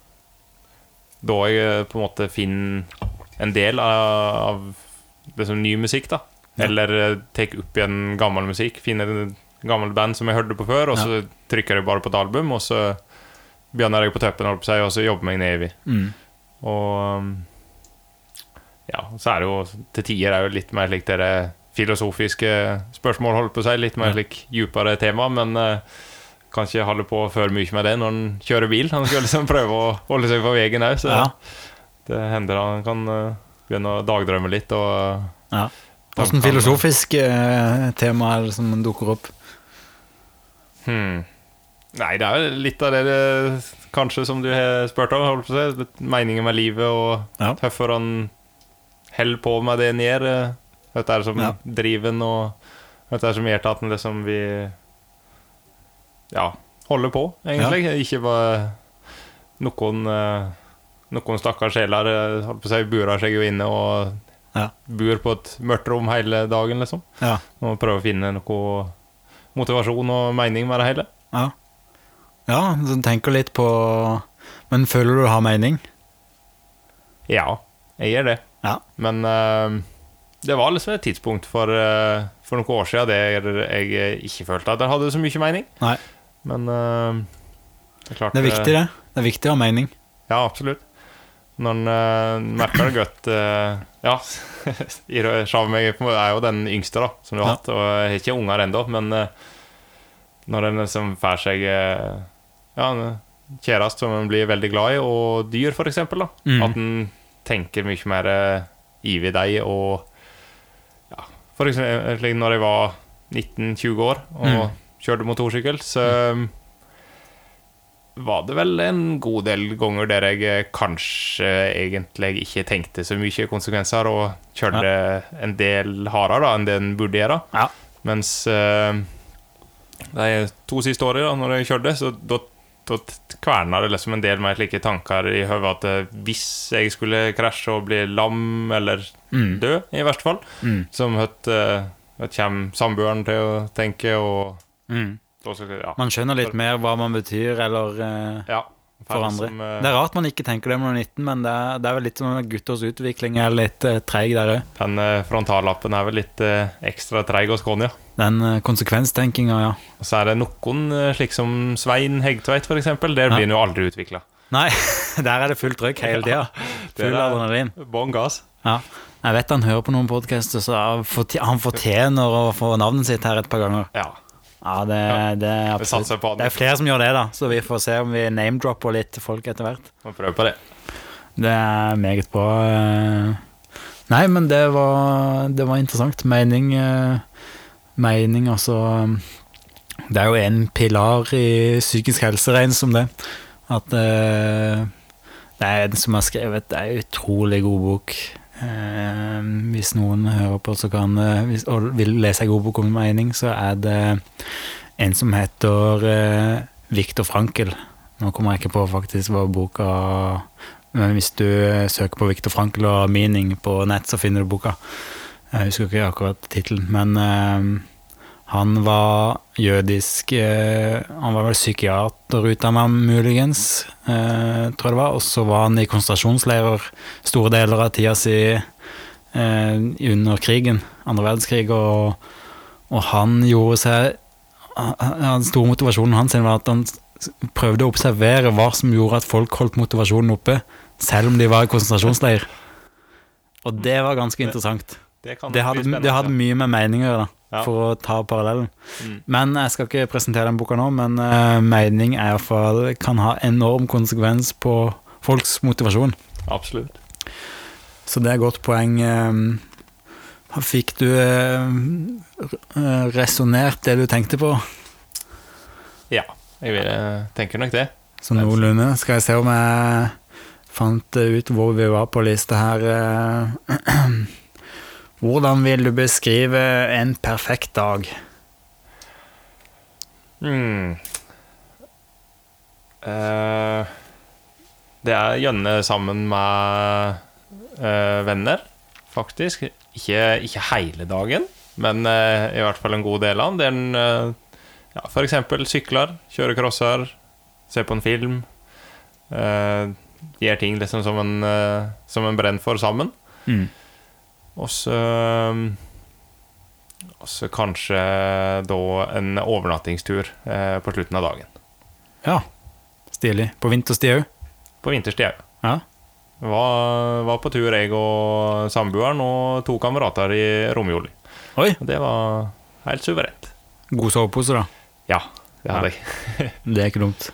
Speaker 2: da jeg eh, på en måte finner en del av, av det som ny musikk, da.
Speaker 1: Ja.
Speaker 2: Eller eh, tar opp igjen gammel musikk, finner en gammel band som jeg hørte på før, og så trykker jeg bare på et album, og så begynner jeg på tøppen, holdt på seg, og så jobber jeg meg ned i.
Speaker 1: Mm.
Speaker 2: Og um, ja, så er det jo til tider er jo litt mer slik dere filosofiske spørsmål, holdt på å si, litt mer
Speaker 1: Ja.
Speaker 2: slik djupere tema, men eh, kan ikke holde på for mye med det når han kjører bil. Han skal liksom prøve å holde seg på veien òg, så
Speaker 1: Ja.
Speaker 2: det hender han kan eh, begynne å dagdrømme litt. Og
Speaker 1: ja. Hvordan filosofisk eh, tema er det som dukker opp?
Speaker 2: hmm. Nei, det er jo litt av det eh, kanskje som du har spurt om, holdt på å si. litt Meningen med livet og
Speaker 1: Ja.
Speaker 2: hvorfor han holder på med det han gjør. eh, Hva er det som
Speaker 1: Ja.
Speaker 2: driver han, og hva er det som gjør at han liksom vil Ja, holder på, egentlig. Ikke bare noen eh, Noen stakkars sjeler eh, holdt på å si, burer seg jo inne og
Speaker 1: Ja.
Speaker 2: bor på et mørkt rom hele dagen, liksom.
Speaker 1: Ja.
Speaker 2: Og prøve å finne noe motivasjon og mening med det hele.
Speaker 1: Ja, ja så tenker litt på Men føler du du har mening?
Speaker 2: Ja, jeg gjør det.
Speaker 1: Ja.
Speaker 2: Men eh, det var liksom et tidspunkt for, eh, for noen år siden der jeg ikke følte at jeg hadde så mye mening.
Speaker 1: Nei.
Speaker 2: Men eh, det er klart
Speaker 1: Det er viktig, det. Det er viktig å ha mening.
Speaker 2: Ja, absolutt. Når en eh, merker det godt eh, Ja, Iro- Sjav meg på- er jo den yngste da som du har
Speaker 1: Ja.
Speaker 2: hatt, og jeg har ikke unger ennå, men eh, når en liksom får seg eh, Ja, en kjæreste som en blir veldig glad i, og dyr, for eksempel, da,
Speaker 1: Mm.
Speaker 2: at en tenker mye mer eh, ivrig deg og ja, For eksempel eh, slik når jeg var 19-20 år og
Speaker 1: Mm.
Speaker 2: kjørte motorsykkel, så var det vel en god del ganger der jeg eh, kanskje egentlig ikke tenkte så mye konsekvenser, og kjørte en del hardere da enn det en burde gjøre.
Speaker 1: Ja.
Speaker 2: Mens eh, de to siste årene da når jeg kjørte, så da, da kverna det liksom en del med slike tanker i hodet at eh, hvis jeg skulle krasje og bli lam eller
Speaker 1: Mm.
Speaker 2: dø, i verste fall,
Speaker 1: Mm.
Speaker 2: som høtt, eh, høtt kommer samboeren til å tenke, og
Speaker 1: Mm.
Speaker 2: da skal jeg, ja.
Speaker 1: Man skjønner litt mer hva man betyr, eller eh,
Speaker 2: ja
Speaker 1: for andre.
Speaker 2: Som, eh,
Speaker 1: Det er rart man ikke tenker det når man er 19, men det er, det er vel litt som at gutters utvikling er litt eh, treig der òg.
Speaker 2: Den eh, frontallappen er vel litt eh, ekstra treig hos Konja.
Speaker 1: Den eh, konsekvenstenkinga, ja.
Speaker 2: Og så er det noen eh, slik som Svein Hegtveit, for eksempel.
Speaker 1: Ja.
Speaker 2: Der blir den jo aldri utvikla.
Speaker 1: Nei, der er det fullt trøkk hele tida.
Speaker 2: det
Speaker 1: Full
Speaker 2: er-
Speaker 1: adrenalin.
Speaker 2: Bånn gass.
Speaker 1: Ja. Jeg vet han hører på noen podkaster, så han forti- han fortjener å få navnet sitt her et par ganger.
Speaker 2: Ja.
Speaker 1: Ja, det, det er
Speaker 2: Vi
Speaker 1: absolutt
Speaker 2: satser på
Speaker 1: Det
Speaker 2: den.
Speaker 1: er flere som gjør det, da, så vi får se om vi name-dropper litt folk etter hvert.
Speaker 2: Må prøve på det.
Speaker 1: Det er meget bra. eh. Nei, men det var, det var interessant. Mening, eh, mening altså eh, Det er jo en pilar i psykisk helse, regnes som det. At eh, det er en som har skrevet Det er en utrolig god bok. Eh, hvis noen hører på så kan, eh, hvis, og vil lese en god bok om mening, så er det en som heter eh, Viktor Frankel. Nå kommer jeg ikke på faktisk hva boka Men Eh, hvis du søker på Viktor Frankl og 'meaning' på nett, så finner du boka. Eh, Jeg husker ikke akkurat tittelen, men eh, han var jødisk eh, Han var vel psykiaterutdanna, muligens, eh, tror jeg det var. Og så var han i konsentrasjonsleirer store deler av tida si eh, under krigen, andre verdenskrig, og, og han gjorde seg han- han- store motivasjonen hans var at han s- prøvde å observere hva som gjorde at folk holdt motivasjonen oppe, selv om de var i konsentrasjonsleir. Og det var ganske interessant.
Speaker 2: Det, kan
Speaker 1: Det
Speaker 2: nok bli
Speaker 1: hadde,
Speaker 2: spennende.
Speaker 1: det hadde mye med mening å gjøre, da,
Speaker 2: Ja.
Speaker 1: for å ta parallellen.
Speaker 2: Mm.
Speaker 1: Men jeg skal ikke presentere den boka nå, men eh, mening er i hvert fall, kan ha enorm konsekvens på folks motivasjon.
Speaker 2: Mm, Absolutt.
Speaker 1: Så det er et godt poeng. Ehm, Fikk du eh, resonnert det du tenkte på,
Speaker 2: Ja, jeg vil, eh, tenker nok det.
Speaker 1: sånn noenlunde? Skal jeg se om jeg fant ut hvor vi var på lista her. eh. Hvordan vil du beskrive en perfekt dag?
Speaker 2: Mm. Eh, det er gjerne sammen med eh, venner, faktisk. Ikke, ikke hele dagen, men eh, i hvert fall en god del av den. Det er en, eh, ja, for eksempel sykler, kjøre crosser, se på en film. Eh, gjør ting liksom som en, eh, som en brenner for sammen.
Speaker 1: Mm.
Speaker 2: Og så og så kanskje da en overnattingstur eh, på slutten av dagen.
Speaker 1: Ja, stilig. På vinterstid òg?
Speaker 2: På vinterstid òg.
Speaker 1: Ja.
Speaker 2: Var, var på tur, jeg og samboeren og to kamerater i romjuli.
Speaker 1: Oi,
Speaker 2: Og det var helt suverent.
Speaker 1: god sovepose, da.
Speaker 2: Ja, det hadde jeg.
Speaker 1: Det er ikke dumt.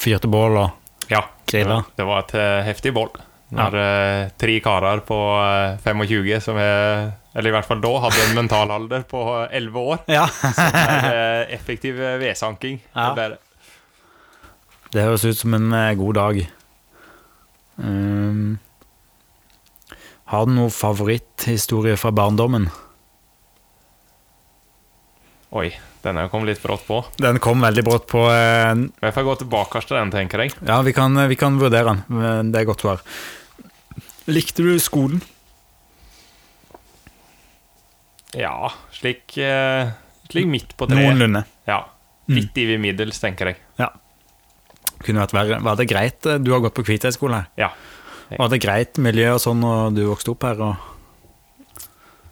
Speaker 1: Fyrte bål og
Speaker 2: Ja,
Speaker 1: Grilla.
Speaker 2: Det var et eh, heftig boll. Når eh, tre karer på eh, 25 som er Eller i hvert fall da hadde en mentalalder på eh, 11 år.
Speaker 1: Ja.
Speaker 2: Er, eh, effektiv eh, vedsanking.
Speaker 1: Ja.
Speaker 2: Det ble det.
Speaker 1: Det høres ut som en eh, god dag. Ehm, har du noen favoritthistorie fra barndommen?
Speaker 2: Oi, denne kom litt brått på.
Speaker 1: Den kom veldig brått på. eh,
Speaker 2: Men jeg får gå tilbake til den, tenker jeg.
Speaker 1: Ja, vi kan, vi kan vurdere den. men Det er godt svar. Likte du skolen?
Speaker 2: Ja, slik, eh, slik midt på treet.
Speaker 1: Noenlunde. Mm.
Speaker 2: Ja, Litt i ved middels, tenker jeg.
Speaker 1: Ja. Kunne vært verre. Var det greit? eh, Du har gått på Kviteseid skole her.
Speaker 2: Ja.
Speaker 1: Var det greit miljø og sånn når du vokste opp her? Og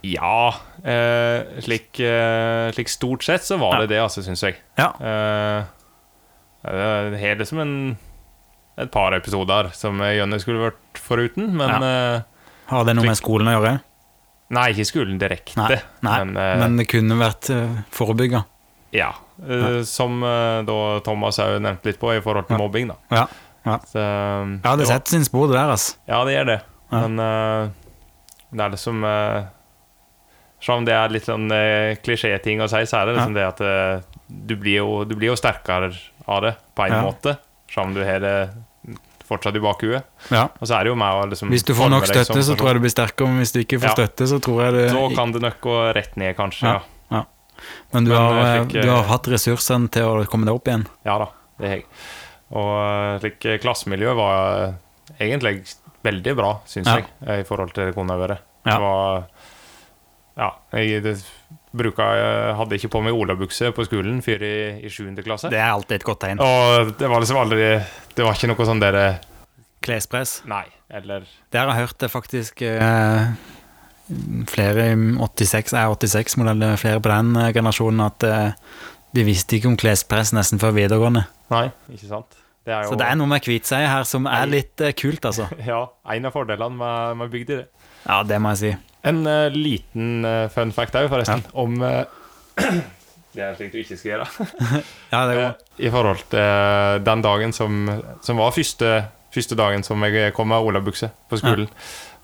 Speaker 2: Ja, eh, slik, eh, slik stort sett så var det det, altså, syns jeg.
Speaker 1: ja.
Speaker 2: Eh, det har liksom en et par episoder som jeg gjerne skulle vært foruten, men eh,
Speaker 1: Har det noe med skolen å gjøre?
Speaker 2: Nei, ikke skolen direkte.
Speaker 1: Nei, Nei.
Speaker 2: Men,
Speaker 1: Men,
Speaker 2: eh,
Speaker 1: det kunne vært eh, forebygga.
Speaker 2: Ja. eh, Som eh, da Thomas òg nevnte litt på i forhold til mobbing, da.
Speaker 1: Ja.
Speaker 2: Så,
Speaker 1: ja, det
Speaker 2: jo.
Speaker 1: setter sin spor, det der, altså.
Speaker 2: Ja, det gjør det.
Speaker 1: Ja.
Speaker 2: Men eh, det er liksom eh, Selv om det er litt sånn eh, klisjéting å si, så er det liksom det at eh, du, blir jo, du blir jo sterkere av det, på en
Speaker 1: Ja.
Speaker 2: måte. Selv om du har det fortsatt i bakhuet.
Speaker 1: Ja.
Speaker 2: Og så er det jo med å liksom
Speaker 1: Hvis du får nok
Speaker 2: forme deg som
Speaker 1: støtte, så
Speaker 2: person.
Speaker 1: tror jeg du blir sterkere. Men hvis du ikke får
Speaker 2: Ja.
Speaker 1: støtte, så tror jeg
Speaker 2: Da
Speaker 1: du
Speaker 2: kan det nok gå rett ned, kanskje.
Speaker 1: Ja.
Speaker 2: Ja,
Speaker 1: Men du
Speaker 2: Men
Speaker 1: har,
Speaker 2: jeg fikk, eh,
Speaker 1: du har hatt ressursene til å komme deg opp igjen.
Speaker 2: ja. da, det har jeg. Og eh, slik eh, klassemiljøet var eh, egentlig veldig bra, syns
Speaker 1: Ja.
Speaker 2: jeg, eh, i forhold til det kunne ha vært.
Speaker 1: Ja.
Speaker 2: Det var Ja, jeg det, bruka, jeg hadde ikke på meg olabukse på skolen før i, i 7. klasse.
Speaker 1: Det er alltid et godt tegn.
Speaker 2: Og det var liksom aldri Det var ikke noe sånn dere
Speaker 1: Klespress.
Speaker 2: Nei, eller
Speaker 1: Der har jeg hørt det faktisk eh, flere i 86, er 86-modell, flere på den eh, generasjonen, at eh, de visste ikke om klespress nesten før videregående.
Speaker 2: Nei, ikke sant? Det er jo
Speaker 1: Så det er noe med Kviteseid her som
Speaker 2: Nei.
Speaker 1: er litt eh, kult, altså.
Speaker 2: ja, en av fordelene med, med bygd i det.
Speaker 1: Ja, det må jeg si.
Speaker 2: En eh, liten eh, fun fact òg, forresten, om eh, Det er slik du ikke skal gjøre.
Speaker 1: Ja, det er jo
Speaker 2: Eh, I forhold til eh, den dagen som, som var første, første dagen som jeg kom med olabukse på skolen.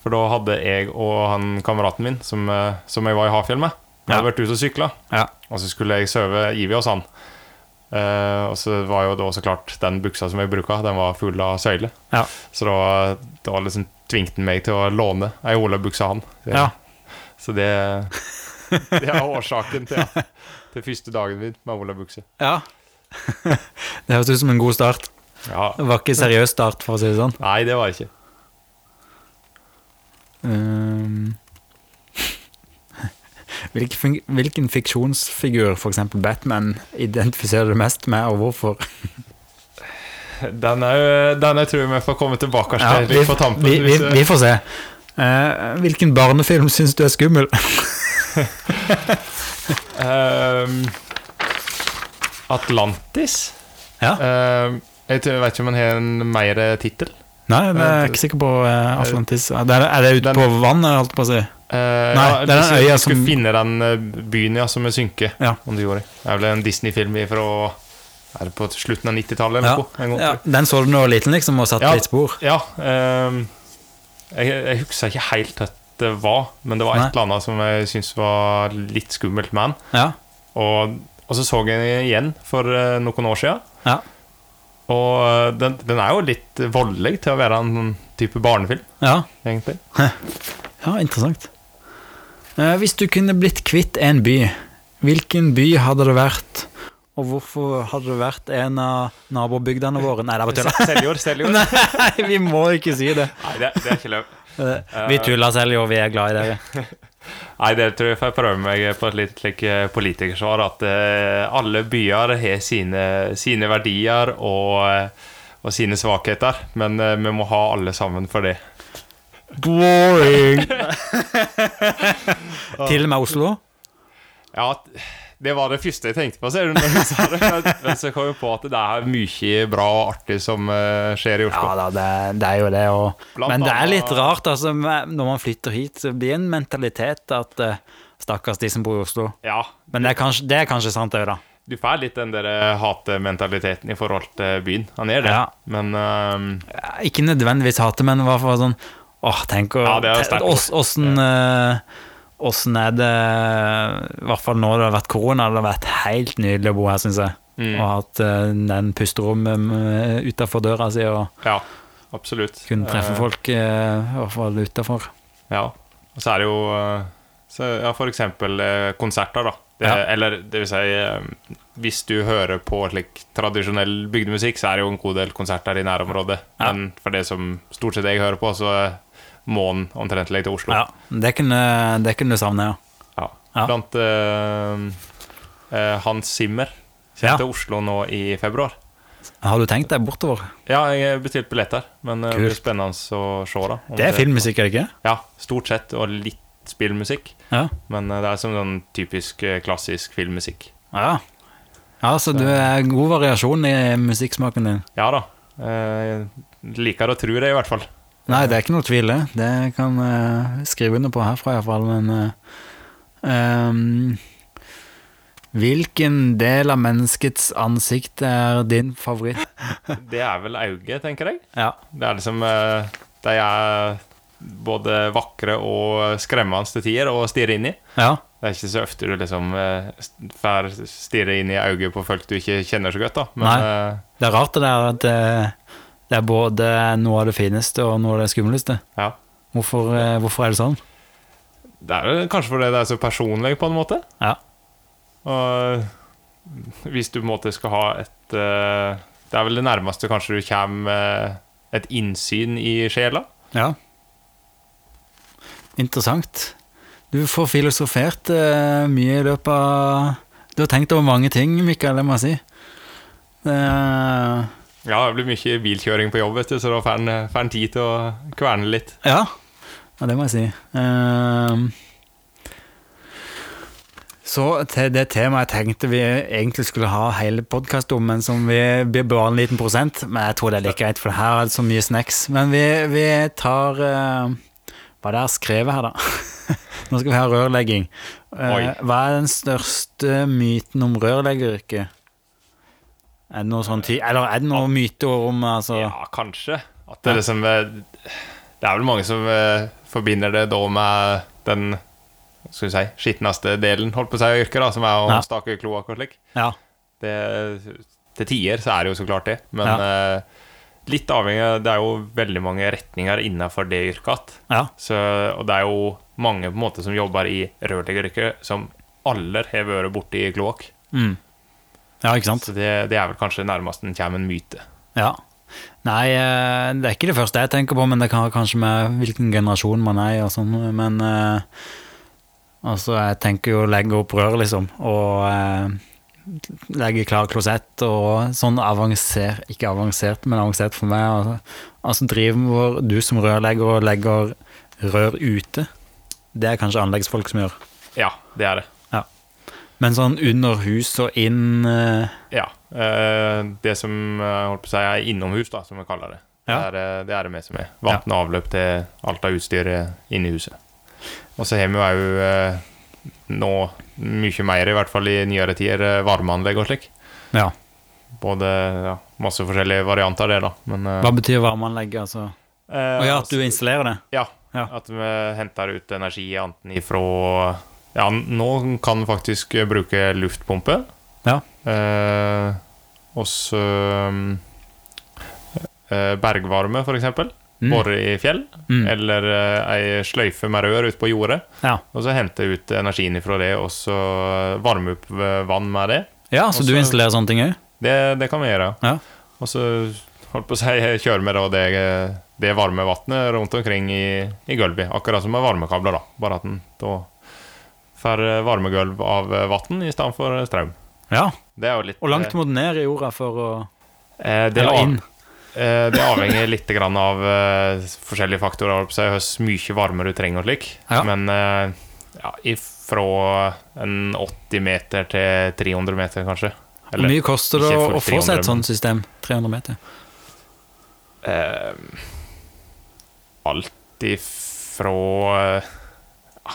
Speaker 2: For da hadde jeg og han kameraten min, som, eh, som jeg var i Hafjell med, vi hadde
Speaker 1: Ja.
Speaker 2: vært ute og sykla.
Speaker 1: ja.
Speaker 2: Og så skulle jeg sove Ivi hos han. Eh, og så var jo da så klart den buksa som jeg bruka, den var full av søyle.
Speaker 1: Ja.
Speaker 2: Så da, da liksom tvingte han meg til å låne ei olabukse av han. Det-
Speaker 1: ja.
Speaker 2: Så det, det er årsaken til, til første dagen min med olabukse.
Speaker 1: Ja. Det høres ut som en god start.
Speaker 2: Ja.
Speaker 1: Det var ikke seriøs start, for å si det sånn.
Speaker 2: Nei, det var det ikke.
Speaker 1: Ehm. Hvilken, fun- hvilken fiksjonsfigur, f.eks. Batman, identifiserer du mest med, og hvorfor?
Speaker 2: Den er, jo- den er tror jeg vi får komme tilbake til
Speaker 1: Ja, vi,
Speaker 2: litt på tampen.
Speaker 1: vi, vi,
Speaker 2: hvis-
Speaker 1: vi får se. Eh, hvilken barnefilm syns du er skummel?
Speaker 2: Ehm, Atlantis?
Speaker 1: Ja.
Speaker 2: Ehm, jeg, tror, jeg vet ikke om den har en mer tittel.
Speaker 1: Nei, jeg er ikke sikker på eh, Atlantis. Er det, er det ute
Speaker 2: Den-
Speaker 1: på vannet, holdt jeg på å si?
Speaker 2: Ehm,
Speaker 1: Nei, det er
Speaker 2: hvis
Speaker 1: den
Speaker 2: jeg
Speaker 1: øya
Speaker 2: skulle
Speaker 1: som-
Speaker 2: finne den eh, byen ja, som er synket.
Speaker 1: Ja.
Speaker 2: Om du gjorde det. det er vel en Disney-film fra er det på slutten av 90-tallet eller
Speaker 1: Ja.
Speaker 2: noe. en gang,
Speaker 1: ja.
Speaker 2: tror jeg.
Speaker 1: Den så du da du var liten, liksom, og satte
Speaker 2: Ja.
Speaker 1: litt spor?
Speaker 2: Ja, ehm, jeg, jeg husker ikke helt hva det var, men det var
Speaker 1: Nei.
Speaker 2: et eller annet som jeg syntes var litt skummelt med den.
Speaker 1: Ja.
Speaker 2: Og, og så så jeg den igjen for eh, noen år siden.
Speaker 1: Ja.
Speaker 2: Og eh, den, den er jo litt voldelig til å være en sånn type barnefilm,
Speaker 1: ja.
Speaker 2: egentlig.
Speaker 1: Ja, interessant. Eh, hvis du kunne blitt kvitt en by, hvilken by hadde det vært? Og hvorfor hadde det vært en av nabobygdene våre? Nei, det var tull.
Speaker 2: Seljord, Seljord. Nei,
Speaker 1: Nei, vi må ikke si det.
Speaker 2: det, det er ikke lov.
Speaker 1: Eh, Vi tuller selv, jo. Vi er glad i dere.
Speaker 2: Nei, det tror jeg får jeg prøve meg på et litt like, politikersvar. At eh, alle byer har sine, sine verdier og, eh, og sine svakheter. Men eh, vi må ha alle sammen for det.
Speaker 1: Boring! Til og med Oslo?
Speaker 2: Ja, t- det var det første jeg tenkte på, ser du, når du sa det. Men, men så kom jeg på at det er mye bra og artig som eh, skjer i Oslo.
Speaker 1: Ja da, det, det er jo det. Og,
Speaker 2: Blant
Speaker 1: men det er
Speaker 2: annet-
Speaker 1: litt rart altså, med- når man flytter hit, så blir det en mentalitet at eh, stakkars de som bor i Oslo.
Speaker 2: Ja,
Speaker 1: Men det er kanskje, det er kanskje sant, det òg, da.
Speaker 2: du får litt den der eh, hatementaliteten i forhold til byen. Han er det,
Speaker 1: Ja.
Speaker 2: men ehm,
Speaker 1: Ikke nødvendigvis hate, men i hvert fall sånn Åh, tenk å
Speaker 2: Ja, det er jo
Speaker 1: te-
Speaker 2: sterkt
Speaker 1: ås- Åssen eh, åssen er det I hvert fall nå det har vært korona, det har vært helt nydelig å bo her, syns jeg.
Speaker 2: Mm.
Speaker 1: Og hatt eh, den pusterommet utafor døra si og
Speaker 2: ja, absolutt.
Speaker 1: kunne treffe
Speaker 2: Eh,
Speaker 1: folk, eh, i hvert fall utafor.
Speaker 2: Ja, og så er det jo eh, så, ja, for eksempel eh, konserter, da. Det,
Speaker 1: Ja.
Speaker 2: Eller det vil si eh, Hvis du hører på slik tradisjonell bygdemusikk, så er det jo en god del konserter i nærområdet.
Speaker 1: Ja.
Speaker 2: Men for det som stort sett jeg hører på, så eh, må en omtrent legge til Oslo.
Speaker 1: Ja, det kunne, det kunne du savne, ja.
Speaker 2: Ja.
Speaker 1: Ja.
Speaker 2: Blant eh, eh, Hans Zimmer kommer
Speaker 1: Ja.
Speaker 2: til Oslo nå i februar.
Speaker 1: Har du tenkt deg bortover?
Speaker 2: Ja, jeg har bestilt billetter, men eh, det blir
Speaker 1: Kult.
Speaker 2: spennende å se. da om
Speaker 1: Det er filmmusikk, er det ikke?
Speaker 2: Ja, stort sett, og litt spillmusikk.
Speaker 1: Ja.
Speaker 2: Men eh, det er som sånn typisk eh, klassisk filmmusikk.
Speaker 1: ja. Ja, så du er god variasjon i musikksmaken din.
Speaker 2: Ja da. Eh, liker å tro det, i hvert fall.
Speaker 1: Nei, det er ikke noe tvil, det. Det kan jeg skrive under på herfra, iallfall. Men eh, ehm, Hvilken del av menneskets ansikt er din favoritt?
Speaker 2: Det er vel auget, tenker jeg.
Speaker 1: Ja.
Speaker 2: Det er liksom eh, De er både vakre og skremmende til tider å stirre inn i.
Speaker 1: ja.
Speaker 2: Det er ikke så ofte du liksom eh, st- får stirre inn i øyet på folk du ikke kjenner så godt, da. Men eh,
Speaker 1: Det er rart det der at det, det er både noe av det fineste og noe av det skumleste.
Speaker 2: ja.
Speaker 1: Hvorfor, eh, hvorfor er det sånn?
Speaker 2: Det er vel kanskje fordi det er så personlig, på en måte.
Speaker 1: Ja.
Speaker 2: Og hvis du på en måte skal ha et eh, Det er vel det nærmeste kanskje du kommer eh, et innsyn i sjela.
Speaker 1: Ja. Interessant. Du får filosofert eh, mye i løpet av Du har tenkt over mange ting, Mikael, det må jeg si. Eh,
Speaker 2: Ja, det blir mye bilkjøring på jobb, vet du, så da får en- får en tid til å kverne litt.
Speaker 1: ja. ja, det må jeg si. Ehm. så til det temaet jeg tenkte vi egentlig skulle ha hele podkasten om, men som vi blir bare en liten prosent. Men jeg tror det er like greit, for her er det så mye snacks. Men vi, vi tar eh, Hva er det jeg har skrevet her, da? Nå skal vi ha rørlegging. Eh,
Speaker 2: Oi.
Speaker 1: hva er den største myten om rørleggeryrket? Er det noe sånn ty... Eller er det noe myteord om altså,
Speaker 2: Ja, kanskje. At det, er liksom, eh, det er vel mange som eh, forbinder det da med den hva skal vi si, skitneste delen holdt på å si, av yrket, da, som er å
Speaker 1: Ja.
Speaker 2: stake kloakk og slik.
Speaker 1: ja.
Speaker 2: Det- Til tider så er det jo så klart det, men
Speaker 1: Ja.
Speaker 2: eh, litt avhengig av- Det er jo veldig mange retninger innenfor det yrket.
Speaker 1: ja.
Speaker 2: Så, og det er jo mange på en måte som jobber i rørleggeryrket, som aller har vært borti kloakk.
Speaker 1: Mm. Ja, ikke sant?
Speaker 2: Så det, det er vel kanskje nærmest en kommer en myte.
Speaker 1: Ja. Nei, eh, det er ikke det første jeg tenker på, men det kan ha kanskje med hvilken generasjon man er i og sånn, men eh, altså, jeg tenker jo legge opp rør, liksom, og eh, legge klar klosett og sånn avansert, ikke avansert, men avansert for meg. Altså, altså driver du som rørlegger og legger rør ute, det er kanskje anleggsfolk som gjør.
Speaker 2: Ja, det er det.
Speaker 1: Ja. Men sånn under hus og inn eh,
Speaker 2: Ja. eh, Det som eh, holdt på å si er innomhus, da, som vi kaller det.
Speaker 1: Ja.
Speaker 2: Det, er, eh, det er det vi som er. Vann og avløp til alt av utstyr eh, inne i huset. Og så har vi jo eh, nå mye mer, i hvert fall i nyere tider, eh, varmeanlegg og slik.
Speaker 1: Ja.
Speaker 2: Både ja, masse forskjellige varianter av det, da. Men, eh,
Speaker 1: Hva betyr varmeanlegg, altså?
Speaker 2: eh,
Speaker 1: Å ja, at du installerer det?
Speaker 2: Ja,
Speaker 1: Ja.
Speaker 2: at vi henter ut energi enten ifra Ja, nå kan vi faktisk bruke luftpumpe.
Speaker 1: Ja.
Speaker 2: Eh, og så um, eh, bergvarme, for eksempel.
Speaker 1: Mm.
Speaker 2: Borre i fjell.
Speaker 1: Mm.
Speaker 2: Eller eh, ei sløyfe med rør ute på jordet.
Speaker 1: Ja.
Speaker 2: Og så hente ut energien ifra det, og så varme opp eh, vann med det.
Speaker 1: Ja, så du
Speaker 2: Også-
Speaker 1: installerer sånne ting òg?
Speaker 2: Det, det kan vi gjøre.
Speaker 1: Ja.
Speaker 2: Og så holdt på å si, kjører vi da det, det varme vannet rundt omkring i, i gulvet. Akkurat som med varmekabler, da. Bare at en da får varmegulv av vann i stedet for strøm.
Speaker 1: ja.
Speaker 2: Det er jo litt
Speaker 1: Og langt må du ned i jorda for å
Speaker 2: eh, det,
Speaker 1: Eller
Speaker 2: av,
Speaker 1: inn.
Speaker 2: eh, det avhenger litt grann av eh, forskjellige faktorer. holdt på å si, Hvor mye varme du trenger og slik.
Speaker 1: Ja.
Speaker 2: Men eh, ja, ifra en 80 meter til 300 meter, kanskje.
Speaker 1: Hvor mye koster det
Speaker 2: ikke
Speaker 1: å
Speaker 2: for
Speaker 1: å få seg
Speaker 2: 300,
Speaker 1: et sånt system? 300 meter.
Speaker 2: Eh, alt ifra eh, ja,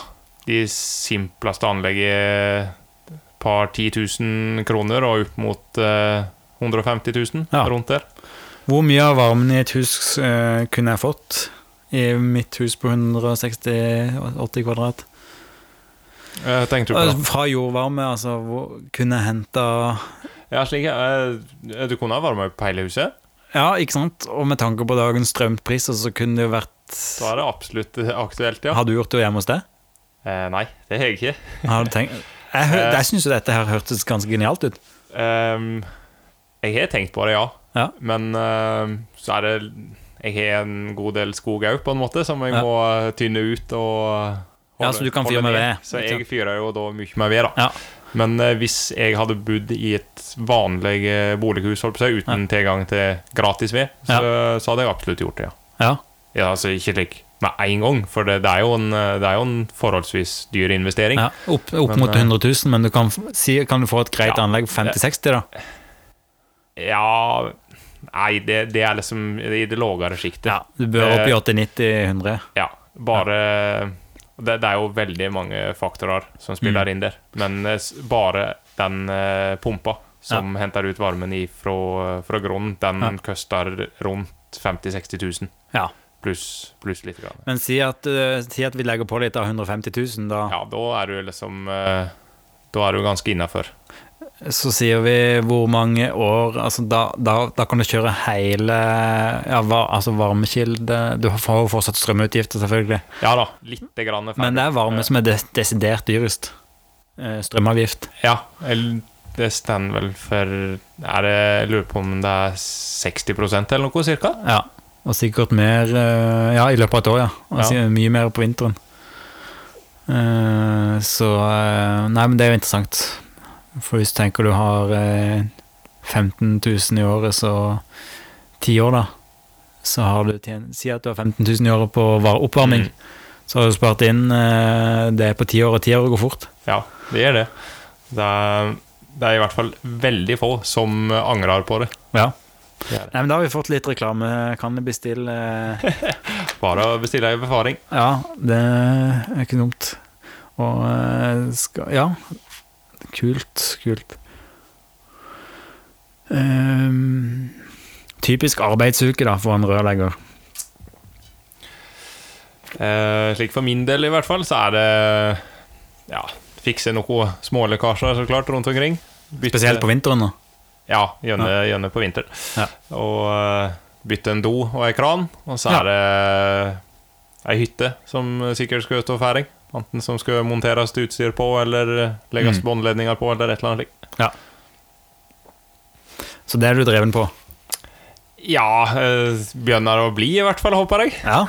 Speaker 2: de simpleste anlegget et par 10 000 kroner og opp mot eh, 150 000
Speaker 1: Ja.
Speaker 2: rundt der.
Speaker 1: Hvor mye av varmen i et hus eh, kunne jeg fått i mitt hus på 160-80 kvadrat?
Speaker 2: Eh, tenkte du på
Speaker 1: Eh,
Speaker 2: det?
Speaker 1: Fra jordvarme, altså. Hvor kunne jeg henta
Speaker 2: Ja, slik, eh, du kunne ha varma opp hele huset.
Speaker 1: Ja, ikke sant? Og med tanke på dagens strømpriser, så kunne det jo vært
Speaker 2: Da er det absolutt aktuelt, ja.
Speaker 1: Har du gjort det hjemme hos deg?
Speaker 2: Eh, nei, det har jeg ikke.
Speaker 1: Har du tenkt Jeg, hø-
Speaker 2: Eh.
Speaker 1: jeg syns jo dette her hørtes ganske genialt ut.
Speaker 2: Ehm, jeg har tenkt på det, ja.
Speaker 1: Ja.
Speaker 2: Men ehm, så er det Jeg har en god del skog òg, på en måte, som jeg
Speaker 1: Ja.
Speaker 2: må eh, tynne ut og holde,
Speaker 1: Ja, så du kan
Speaker 2: holde
Speaker 1: fyre med
Speaker 2: ned.
Speaker 1: ved,
Speaker 2: Så
Speaker 1: ikke
Speaker 2: jeg
Speaker 1: sant?
Speaker 2: fyrer jo da mye med ved, da.
Speaker 1: Ja.
Speaker 2: Men eh, hvis jeg hadde bodd i et vanlig eh, bolighus holdt på seg, uten tilgang til gratis ved, så, så hadde jeg absolutt gjort det, ja.
Speaker 1: Ja.
Speaker 2: ja altså ikke slik med én gang, for det, det, er jo en, eh, det er jo en forholdsvis dyr investering.
Speaker 1: ja. Opp, opp
Speaker 2: Men,
Speaker 1: mot
Speaker 2: eh,
Speaker 1: 100 000, men du kan, f- si, kan du få et greit
Speaker 2: Ja.
Speaker 1: anlegg for 50-60, da?
Speaker 2: Ja Nei, det, det er liksom i det lavere sjiktet.
Speaker 1: Ja, du bør opp i
Speaker 2: Eh,
Speaker 1: 80-90-100.
Speaker 2: Ja, bare det, det er jo veldig mange faktorer som spiller
Speaker 1: Mm.
Speaker 2: inn der. Men eh, s- bare den eh, pumpa som henter ut varmen i fra, fra grunnen, den
Speaker 1: Ja.
Speaker 2: koster rundt 50 000-60 000
Speaker 1: Ja.
Speaker 2: pluss plus litt. Grann.
Speaker 1: Men si at, eh, si at vi legger på litt av 150 000, da.
Speaker 2: Ja, da er du liksom eh, Da er du ganske innafor.
Speaker 1: Så sier vi hvor mange år altså da, da, da kan du kjøre hele ja, var, altså varmekilde Du får jo fortsatt strømutgifter, selvfølgelig.
Speaker 2: Ja da, lite grann. er ferdig.
Speaker 1: Men det er varme som er des desidert dyrest. Eh, Strømavgift.
Speaker 2: Ja, eller det står vel for er det, Jeg lurer på om det er 60 eller noe, cirka?
Speaker 1: Ja. Og sikkert mer eh, Ja, i løpet av et år, ja. Og
Speaker 2: Ja.
Speaker 1: si- mye mer på vinteren. Eh, Så eh, Nei, men det er jo interessant. For hvis du tenker du har eh, 15 000 i året, så Ti år, da. Så har du tjent Si at du har 15 000 i året på var- oppvarming.
Speaker 2: Mm.
Speaker 1: Så har du spart inn eh, det på ti år, og ti år går fort.
Speaker 2: Ja, det gjør det. Det er, det er i hvert fall veldig få som angrer på det.
Speaker 1: Ja.
Speaker 2: Det er det.
Speaker 1: Nei, men da har vi fått litt reklame. Kan vi bestille eh,
Speaker 2: Bare å bestille ei befaring.
Speaker 1: Ja, det er ikke dumt. Og eh, skal Ja. Kult, kult. Ehm, typisk arbeidsuke, da, for en rørlegger.
Speaker 2: Eh, slik for min del, i hvert fall, så er det Ja, fikse noen smålekkasjer, så klart, rundt omkring. Bytte-
Speaker 1: Spesielt på vinteren, da.
Speaker 2: Ja, gjerne, gjerne på vinteren.
Speaker 1: Ja.
Speaker 2: Og eh, bytte en do og ei kran. Og så
Speaker 1: Ja.
Speaker 2: er det ei hytte som sikkert skal ut og færing. Enten som skal monteres utstyr på, eller legges
Speaker 1: Mm.
Speaker 2: båndledninger på, eller et eller annet slikt.
Speaker 1: Så det er du dreven på.
Speaker 2: Ja, eh, begynner å bli, i hvert fall, håper jeg.
Speaker 1: Ja.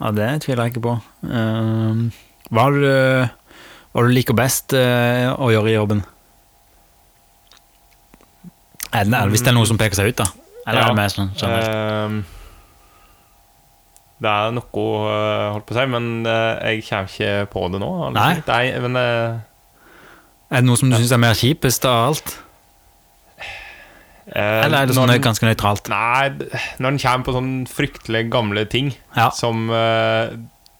Speaker 1: ja, det tviler jeg ikke på. Ehm, hva er det hva er det du liker best eh, å gjøre i jobben? Er det, er det, hvis det er noe som peker seg ut, da. Eller
Speaker 2: Ja.
Speaker 1: er det mer sånn generelt?
Speaker 2: Ehm, det er noe, eh, holdt på å si, men eh, jeg kommer ikke på det nå. altså.
Speaker 1: Nei.
Speaker 2: Nei men eh,
Speaker 1: Er det noe som du syns er mer kjipest av alt?
Speaker 2: eh,
Speaker 1: Eller er det sånn det
Speaker 2: når-
Speaker 1: er ganske nøytralt?
Speaker 2: Nei, d- når en kommer på sånne fryktelig gamle ting,
Speaker 1: Ja.
Speaker 2: som eh,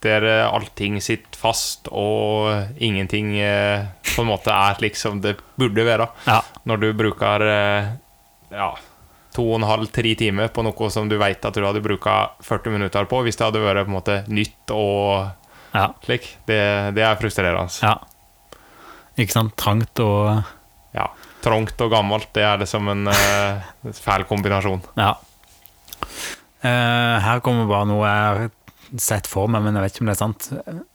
Speaker 2: der eh, allting sitter fast, og ingenting eh, på en måte er slik som det burde være,
Speaker 1: Ja.
Speaker 2: når du bruker eh, ja, to og en halv, tre timer på noe som du vet at du hadde bruka 40 minutter på, hvis det hadde vært på en måte nytt og
Speaker 1: ja.
Speaker 2: slik, det, det er frustrerende.
Speaker 1: ja. Ikke sant? Trangt og
Speaker 2: Ja. Trangt og gammelt, det er det som en eh, fæl kombinasjon.
Speaker 1: Ja. Eh, her kommer bare noe jeg har sett for meg, men jeg vet ikke om det er sant.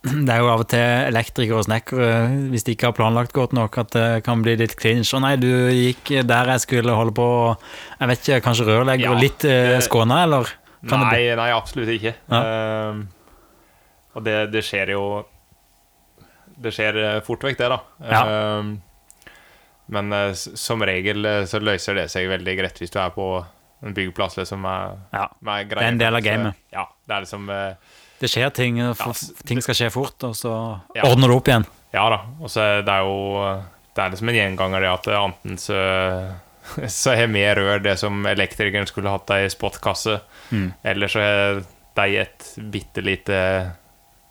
Speaker 1: Det er jo av og til elektrikere og snekkere, hvis de ikke har planlagt godt nok, at det kan bli litt cringe. Å nei, du gikk der jeg skulle holde på, og jeg vet ikke, kanskje rørlegger
Speaker 2: Ja,
Speaker 1: og litt eh,
Speaker 2: det-
Speaker 1: skåna, eller? Kan det
Speaker 2: Nei, nei, absolutt ikke. Ehm, og det, det skjer jo Det skjer eh, fort vekk, det, da.
Speaker 1: Ja.
Speaker 2: Ehm, men eh, s- som regel eh, så løser det seg veldig greit hvis du er på en byggeplass liksom, med,
Speaker 1: bli- Ja.
Speaker 2: med
Speaker 1: er
Speaker 2: greier.
Speaker 1: en del av
Speaker 2: Så,
Speaker 1: gamet.
Speaker 2: Ja, det er liksom eh,
Speaker 1: Det skjer ting, og f-
Speaker 2: s-
Speaker 1: ting skal skje fort, og så
Speaker 2: Ja.
Speaker 1: ordner du opp igjen.
Speaker 2: Ja da. Og så er det jo Det er liksom en gjenganger, det at enten så så har vi rør det som elektrikeren skulle hatt ei spotkasse,
Speaker 1: Mm.
Speaker 2: eller så har de et bitte lite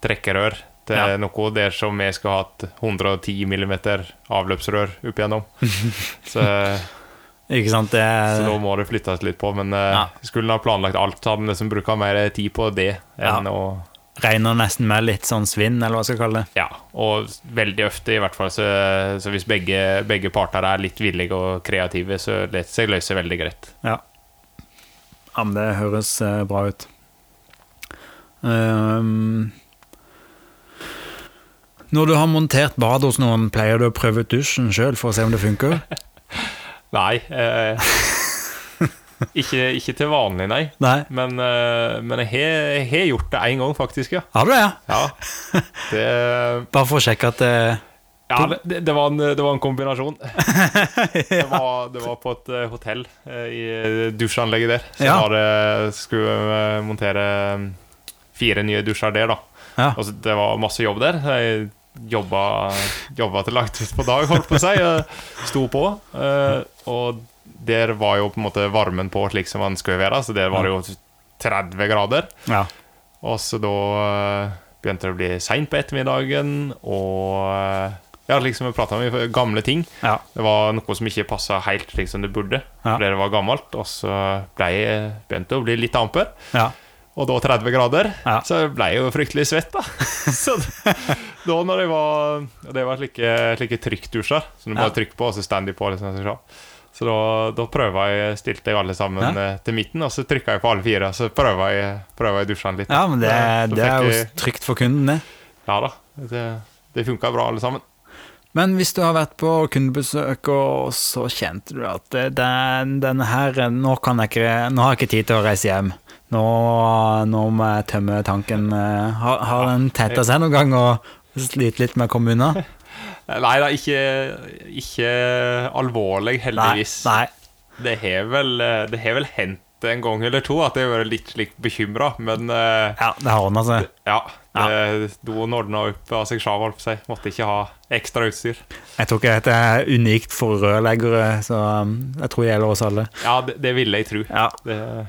Speaker 2: trekkerør til
Speaker 1: Ja.
Speaker 2: noe der som vi skulle hatt 110 mm avløpsrør opp igjennom. så,
Speaker 1: Ikke sant? Det
Speaker 2: så da
Speaker 1: er,
Speaker 2: må det flyttes litt på. Men eh,
Speaker 1: Ja.
Speaker 2: skulle en ha planlagt alt, så hadde en liksom bruka mer tid på det
Speaker 1: Ja.
Speaker 2: enn å
Speaker 1: regner nesten med litt sånn svinn, eller hva jeg skal kalle det.
Speaker 2: Ja, og veldig ofte, i hvert fall, så, så hvis begge, begge parter er litt villige og kreative, så lar det seg løse veldig greit.
Speaker 1: Ja. ja men det høres eh, bra ut. Ehm, når du har montert bad hos noen, pleier du å prøve ut dusjen sjøl for å se om det funker?
Speaker 2: Nei. Eh, ikke, ikke til vanlig, nei.
Speaker 1: Nei.
Speaker 2: Men, eh, men jeg har- jeg har gjort det én gang, faktisk, ja.
Speaker 1: Har du det? ja?
Speaker 2: ja. Det,
Speaker 1: Bare for å sjekke at eh,
Speaker 2: ja, det, det, var en, det var en kombinasjon. Det var, det var på et eh, hotell, eh, i dusjanlegget der. Så
Speaker 1: Ja.
Speaker 2: var det, skulle eh, montere eh, fire nye dusjer der, da.
Speaker 1: ja.
Speaker 2: Altså, det var masse jobb der. Jeg jobba, jobba til langt ut på dag, holdt på å si. Jeg Sto på. eh, Og der var jo på en måte varmen på slik som den skulle være, så der var det jo 30 grader.
Speaker 1: ja.
Speaker 2: Og så da eh, begynte det å bli seint på ettermiddagen, og eh, ja, liksom vi prata om gamle ting.
Speaker 1: ja.
Speaker 2: Det var noe som ikke passa helt slik som det burde,
Speaker 1: Ja.
Speaker 2: fordi det var gammelt. Og så ble jeg, begynte det å bli litt amper.
Speaker 1: ja.
Speaker 2: Og da 30 grader,
Speaker 1: Ja.
Speaker 2: så ble jeg jo fryktelig svett, da. Så da da når jeg var og Det var slike, slike trykkdusjer som du
Speaker 1: Ja.
Speaker 2: bare trykker på, og så stand de på. Liksom, så sånn. så da, da prøva jeg Stilte jeg alle sammen
Speaker 1: Ja.
Speaker 2: eh, til midten, og så trykka jeg på alle fire. Og så prøva jeg, prøva jeg dusjene litt.
Speaker 1: ja men det,
Speaker 2: Ja, så
Speaker 1: det er
Speaker 2: fikk
Speaker 1: jo
Speaker 2: jeg-
Speaker 1: trygt for kunden, det.
Speaker 2: Ja da. Det, det funka bra, alle sammen.
Speaker 1: Men hvis du har vært på kundebesøk, og så kjente du at eh, den, denne her, eh, nå, kan jeg ikke, nå har jeg ikke tid til å reise hjem. Nå, nå må jeg tømme tanken. eh, Har, har den tetta seg noen gang og slitt litt med å komme unna?
Speaker 2: Eh, Nei da, ikke, ikke alvorlig, heldigvis.
Speaker 1: Nei.
Speaker 2: Det har vel, eh, det har vel hendt en gang eller to at jeg har vært litt slik bekymra, men eh,
Speaker 1: Ja, det har ordna seg.
Speaker 2: Ja. det- Doen ordna opp av seg sjøl, holdt på å si. Måtte ikke ha ekstra utstyr.
Speaker 1: Jeg tror ikke dette er unikt for rørleggere, så um, jeg tror det gjelder oss alle.
Speaker 2: Ja, det, det ville jeg tro.
Speaker 1: Ja.
Speaker 2: Det,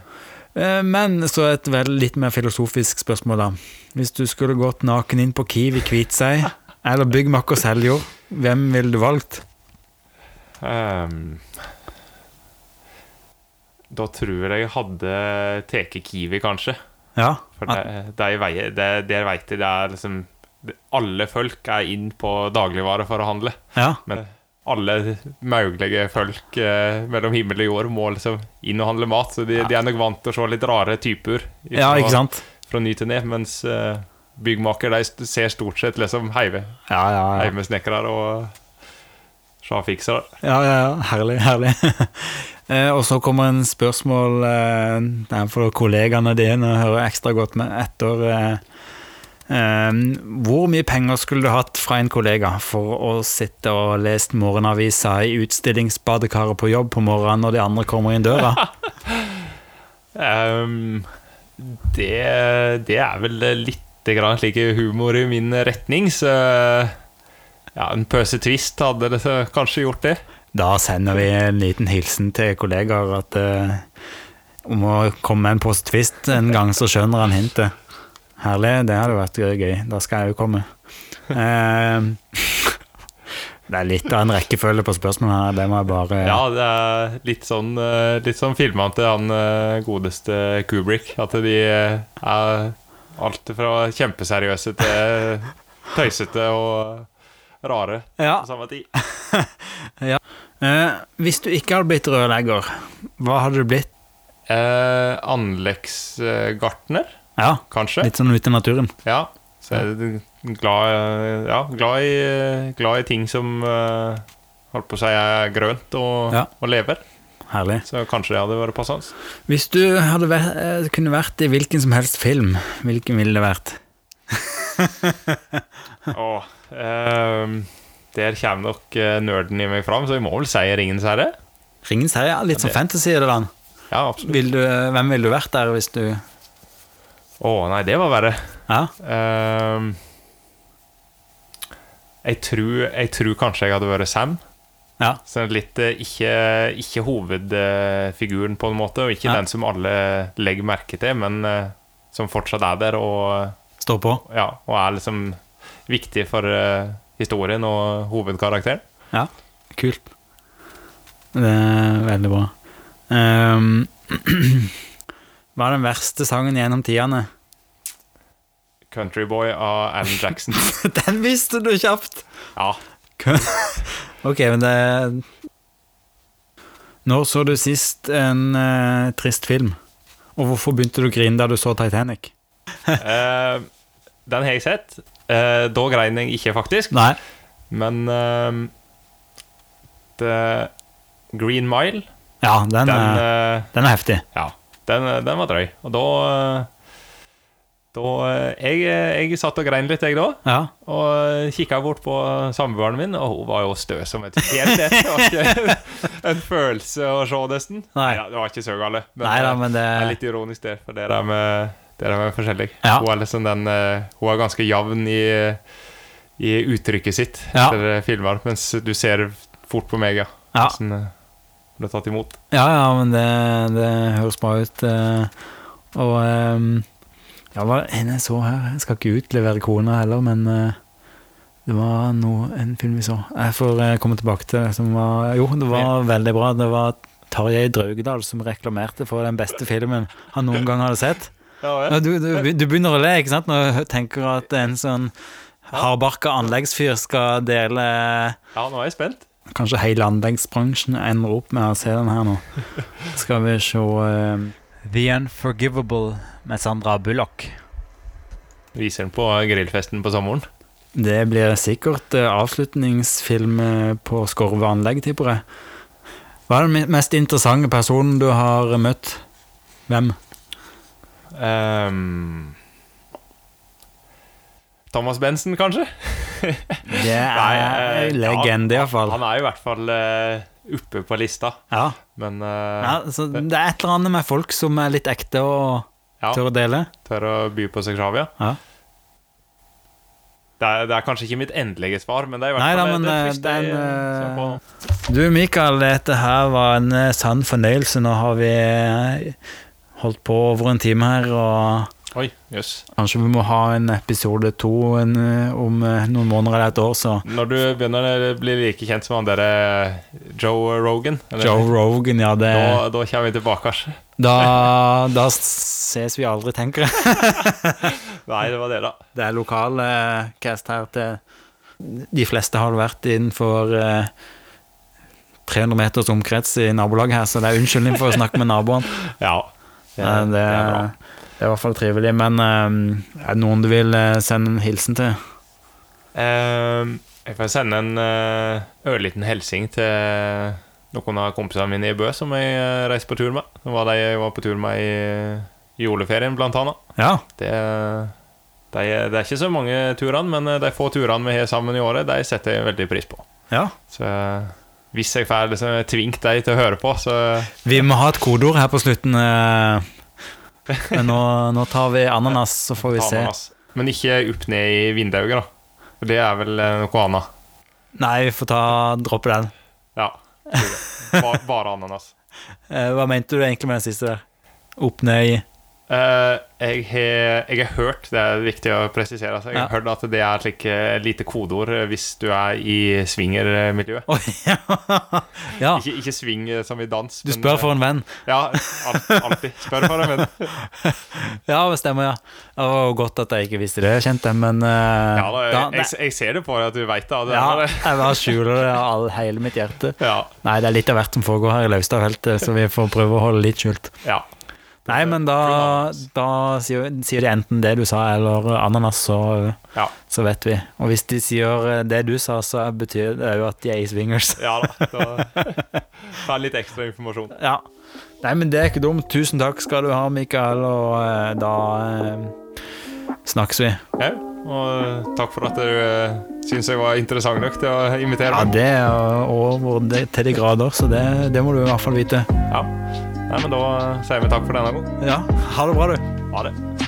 Speaker 1: Eh, Men så et vel litt mer filosofisk spørsmål, da. Hvis du skulle gått naken inn på Kiwi Kviteseid eller Byggmakker Seljord, hvem ville du valgt?
Speaker 2: ehm, da tror jeg jeg hadde tatt Kiwi, kanskje.
Speaker 1: Ja.
Speaker 2: For det, det, er vei- det, der veit jeg det er liksom det- Alle folk er inn på dagligvare for å handle.
Speaker 1: Ja,
Speaker 2: Men alle mulige folk eh, mellom himmel og jord må liksom inn og handle mat. Så de, de er nok vant til å se litt rare typer.
Speaker 1: ja ikke sant?
Speaker 2: fra ny til ne, mens eh, byggmaker de st- ser stort sett liksom heive,
Speaker 1: Ja, ja, ja.
Speaker 2: heimesnekkere og sjafiksere.
Speaker 1: ja, ja, ja. Herlig, herlig. Eh, og så kommer en spørsmål eh, det er for kollegaene dine og hører ekstra godt med etter. Eh, eh, hvor mye penger skulle du hatt fra en kollega for å sitte og lese morgenavisa i utstillingsbadekaret på jobb på morgenen når de andre kommer inn døra?
Speaker 2: Ehm, det, det er vel litt grann slik humor i min retning, så ja, en pøse twist hadde det kanskje gjort det.
Speaker 1: Da sender vi en liten hilsen til kollegaer at eh, om å komme med en pose twist en gang, så skjønner han hintet. Herlig, det hadde vært gøy. Da skal jeg jo komme. Eh, det er litt av en rekkefølge på spørsmålene her, det må jeg bare
Speaker 2: Ja, det er litt sånn, eh, litt sånn filma til han eh, godeste Kubrick. At de eh, er alt fra kjempeseriøse til tøysete og rare
Speaker 1: Ja,
Speaker 2: på samme tid.
Speaker 1: eh, Hvis du ikke hadde blitt rørlegger, hva hadde du blitt?
Speaker 2: Eh, anleggsgartner,
Speaker 1: Ja,
Speaker 2: kanskje?
Speaker 1: litt sånn ute i naturen.
Speaker 2: Ja. Så er du glad, eh, ja, glad, i, glad i ting som eh, holdt på å si er grønt og,
Speaker 1: Ja.
Speaker 2: og lever.
Speaker 1: Herlig.
Speaker 2: Så kanskje det hadde vært passende.
Speaker 1: Hvis du hadde vært, eh, kunne vært i hvilken som helst film, hvilken ville det vært?
Speaker 2: Åh, ehm, der kommer nok eh, nerden i meg fram, så vi må vel si Ringens herre?
Speaker 1: Ringens herre, ja, litt sånn fantasy er det da.
Speaker 2: Ja, absolutt.
Speaker 1: Vil du, eh, hvem ville du vært der hvis du
Speaker 2: Å nei, det var verre.
Speaker 1: Ja,
Speaker 2: Ehm, jeg, tror, jeg tror kanskje jeg hadde vært Sam.
Speaker 1: ja,
Speaker 2: Sånn litt eh, ikke, ikke hovedfiguren, på en måte, og ikke
Speaker 1: Ja.
Speaker 2: den som alle legger merke til, men eh, som fortsatt er der og,
Speaker 1: stå på.
Speaker 2: ja, og er liksom viktig for eh, historien og hovedkarakteren.
Speaker 1: Ja, kult. Det er veldig bra. Ehm, hva er den verste sangen gjennom tidene?
Speaker 2: Countryboy av Alan Jackson.
Speaker 1: Den visste du kjapt!
Speaker 2: Ja,
Speaker 1: Ok, men det Når så du sist en eh, trist film? Og hvorfor begynte du å grine da du så Titanic?
Speaker 2: Eh, den har jeg sett. Eh, da grein jeg ikke, faktisk.
Speaker 1: Nei.
Speaker 2: Men eh, det- Green Mile,
Speaker 1: Ja, den,
Speaker 2: den,
Speaker 1: er,
Speaker 2: eh,
Speaker 1: den er heftig.
Speaker 2: ja, den, den var drøy. Og da, eh, da eh, jeg, jeg satt og grein litt, jeg da.
Speaker 1: Ja.
Speaker 2: Og kikka bort på samboeren min, og hun var jo stø som et fjell. Det var ikke en følelse å se, nesten.
Speaker 1: Nei.
Speaker 2: Ja, det var ikke så galt. men-
Speaker 1: Nei da, men det
Speaker 2: det er litt ironisk der, for dere er med, dere er med forskjellig.
Speaker 1: Ja.
Speaker 2: Hun, er liksom den, eh, hun er ganske jevn i, i uttrykket sitt
Speaker 1: Ja.
Speaker 2: etter eh, filmer, mens du ser fort på meg, ja.
Speaker 1: Ja.
Speaker 2: Hvordan eh, ble tatt imot.
Speaker 1: Ja, ja, men det, det høres bra ut. eh, Og eh, Ja, hva enn jeg så her Jeg skal ikke utlevere kona heller, men eh, det var noe, en film vi så. Jeg får eh, komme tilbake til det som var Jo, det var veldig bra. Det var Tarjei Draugedal som reklamerte for den beste filmen han noen gang hadde sett. Ja, du, du, du begynner å le, ikke sant, når du tenker at en sånn hardbarka anleggsfyr skal dele
Speaker 2: Ja, nå er jeg spent.
Speaker 1: Kanskje hele anleggsbransjen ender opp med å se den her nå. Skal vi se eh, The Unforgivable med Sandra Bullock.
Speaker 2: Viser den på grillfesten på sommeren.
Speaker 1: Det blir sikkert eh, avslutningsfilm eh, på Skorve anlegg, tipper jeg. Hva er den me- mest interessante personen du har eh, møtt? Hvem?
Speaker 2: Ehm, Thomas Bensen, kanskje?
Speaker 1: Det
Speaker 2: Nei,
Speaker 1: er
Speaker 2: eh,
Speaker 1: legende, iallfall.
Speaker 2: Han er i hvert fall eh, oppe på lista,
Speaker 1: Ja.
Speaker 2: men
Speaker 1: ja,
Speaker 2: eh,
Speaker 1: så det er et eller annet med folk som er litt ekte og
Speaker 2: ja.
Speaker 1: tør å dele.
Speaker 2: Tør å by på seg sjøl, ja.
Speaker 1: Ja.
Speaker 2: Det er, det er kanskje ikke mitt endelige svar, men det er i hvert
Speaker 1: Nei da,
Speaker 2: fall
Speaker 1: men
Speaker 2: det,
Speaker 1: eh,
Speaker 2: første
Speaker 1: den
Speaker 2: jeg, eh, ser på.
Speaker 1: eh, Du Mikael, dette her var en eh, sann fornøyelse. Nå har vi eh, holdt på over en time her, og
Speaker 2: Oi, jøss.
Speaker 1: kanskje vi må ha en episode to en, eh, om eh, noen måneder eller et år, så
Speaker 2: Når du begynner å bli like kjent som han derre Joe Rogan eller-
Speaker 1: Joe eh. Rogan, ja, det
Speaker 2: Da, da kommer vi tilbake. ass.
Speaker 1: da, da ses vi aldri, tenker jeg.
Speaker 2: Nei, det var det, da.
Speaker 1: Det er lokal eh, cast her til De fleste har vært innenfor eh, 300 meters omkrets i nabolaget her, så det er unnskyldning for å snakke med naboen.
Speaker 2: Ja. Det,
Speaker 1: Nei, det,
Speaker 2: det er bra.
Speaker 1: det er i hvert fall trivelig. Men eh, er det noen du vil eh, sende en hilsen til?
Speaker 2: Ehm, jeg får sende en eh, ørliten hilsing til noen av kompisene mine i Bø som jeg eh, reiste på tur med. Det var de jeg var på tur med i juleferien, blant annet.
Speaker 1: Ja.
Speaker 2: Det, de, det er ikke så mange turene, men eh, de få turene vi har sammen i året, de setter jeg veldig pris på.
Speaker 1: ja.
Speaker 2: Så eh, hvis jeg får liksom tvingt deg til å høre på, så
Speaker 1: Vi må ha et kodeord her på slutten. eh. Men nå, nå tar vi ananas, så får vi
Speaker 2: tar
Speaker 1: se.
Speaker 2: man oss. Men ikke opp ned i vinduet, da. For det er vel eh, noe annet.
Speaker 1: Nei, vi får ta, droppe den.
Speaker 2: Ja. tror det. Bare, bare ananas.
Speaker 1: Eh, Hva mente du egentlig med den siste der? Opp ned i
Speaker 2: Eh, jeg, har, jeg har hørt, det er viktig å presisere, altså, jeg
Speaker 1: Ja.
Speaker 2: har
Speaker 1: hørt
Speaker 2: hørt at det er et lite kodeord eh, hvis du er i swingermiljøet.
Speaker 1: Oi, ja. ja.
Speaker 2: Ikke, ikke swing eh, som i dans.
Speaker 1: Ah. Du spør for en venn.
Speaker 2: Ja, al- alltid. Spør for en venn.
Speaker 1: Ja, det stemmer, ja. Det var godt at jeg ikke visste det, jeg kjente jeg, men eh,
Speaker 2: Ja, da, jeg,
Speaker 1: da-
Speaker 2: jeg, jeg ser det på deg at du veit det. det,
Speaker 1: Ja,
Speaker 2: er det.
Speaker 1: jeg bare skjuler det av all- hele mitt hjerte.
Speaker 2: Ja,
Speaker 1: Nei, det er litt av hvert som foregår her i Laustadfeltet, så vi får prøve å holde litt skjult.
Speaker 2: ja.
Speaker 1: Nei, men da, da sier, sier de enten det du sa, eller ananas, så,
Speaker 2: Ja.
Speaker 1: så vet vi. Og hvis de sier eh, det du sa, så betyr det jo at de er i swingers.
Speaker 2: ja da. da. Ta litt ekstra informasjon.
Speaker 1: Ja. Nei, men det er ikke dumt. Tusen takk skal du ha, Mikael, og eh, da eh, snakkes vi.
Speaker 2: Ja, og takk for at du eh, syns jeg var interessant nok til å invitere
Speaker 1: Ja,
Speaker 2: meg.
Speaker 1: det er over det- til de grader, så det, det må du i hvert fall vite.
Speaker 2: Ja. Nei, men da sier vi eh, takk for denne gang.
Speaker 1: Ja, ha det bra, du.
Speaker 2: Ha det.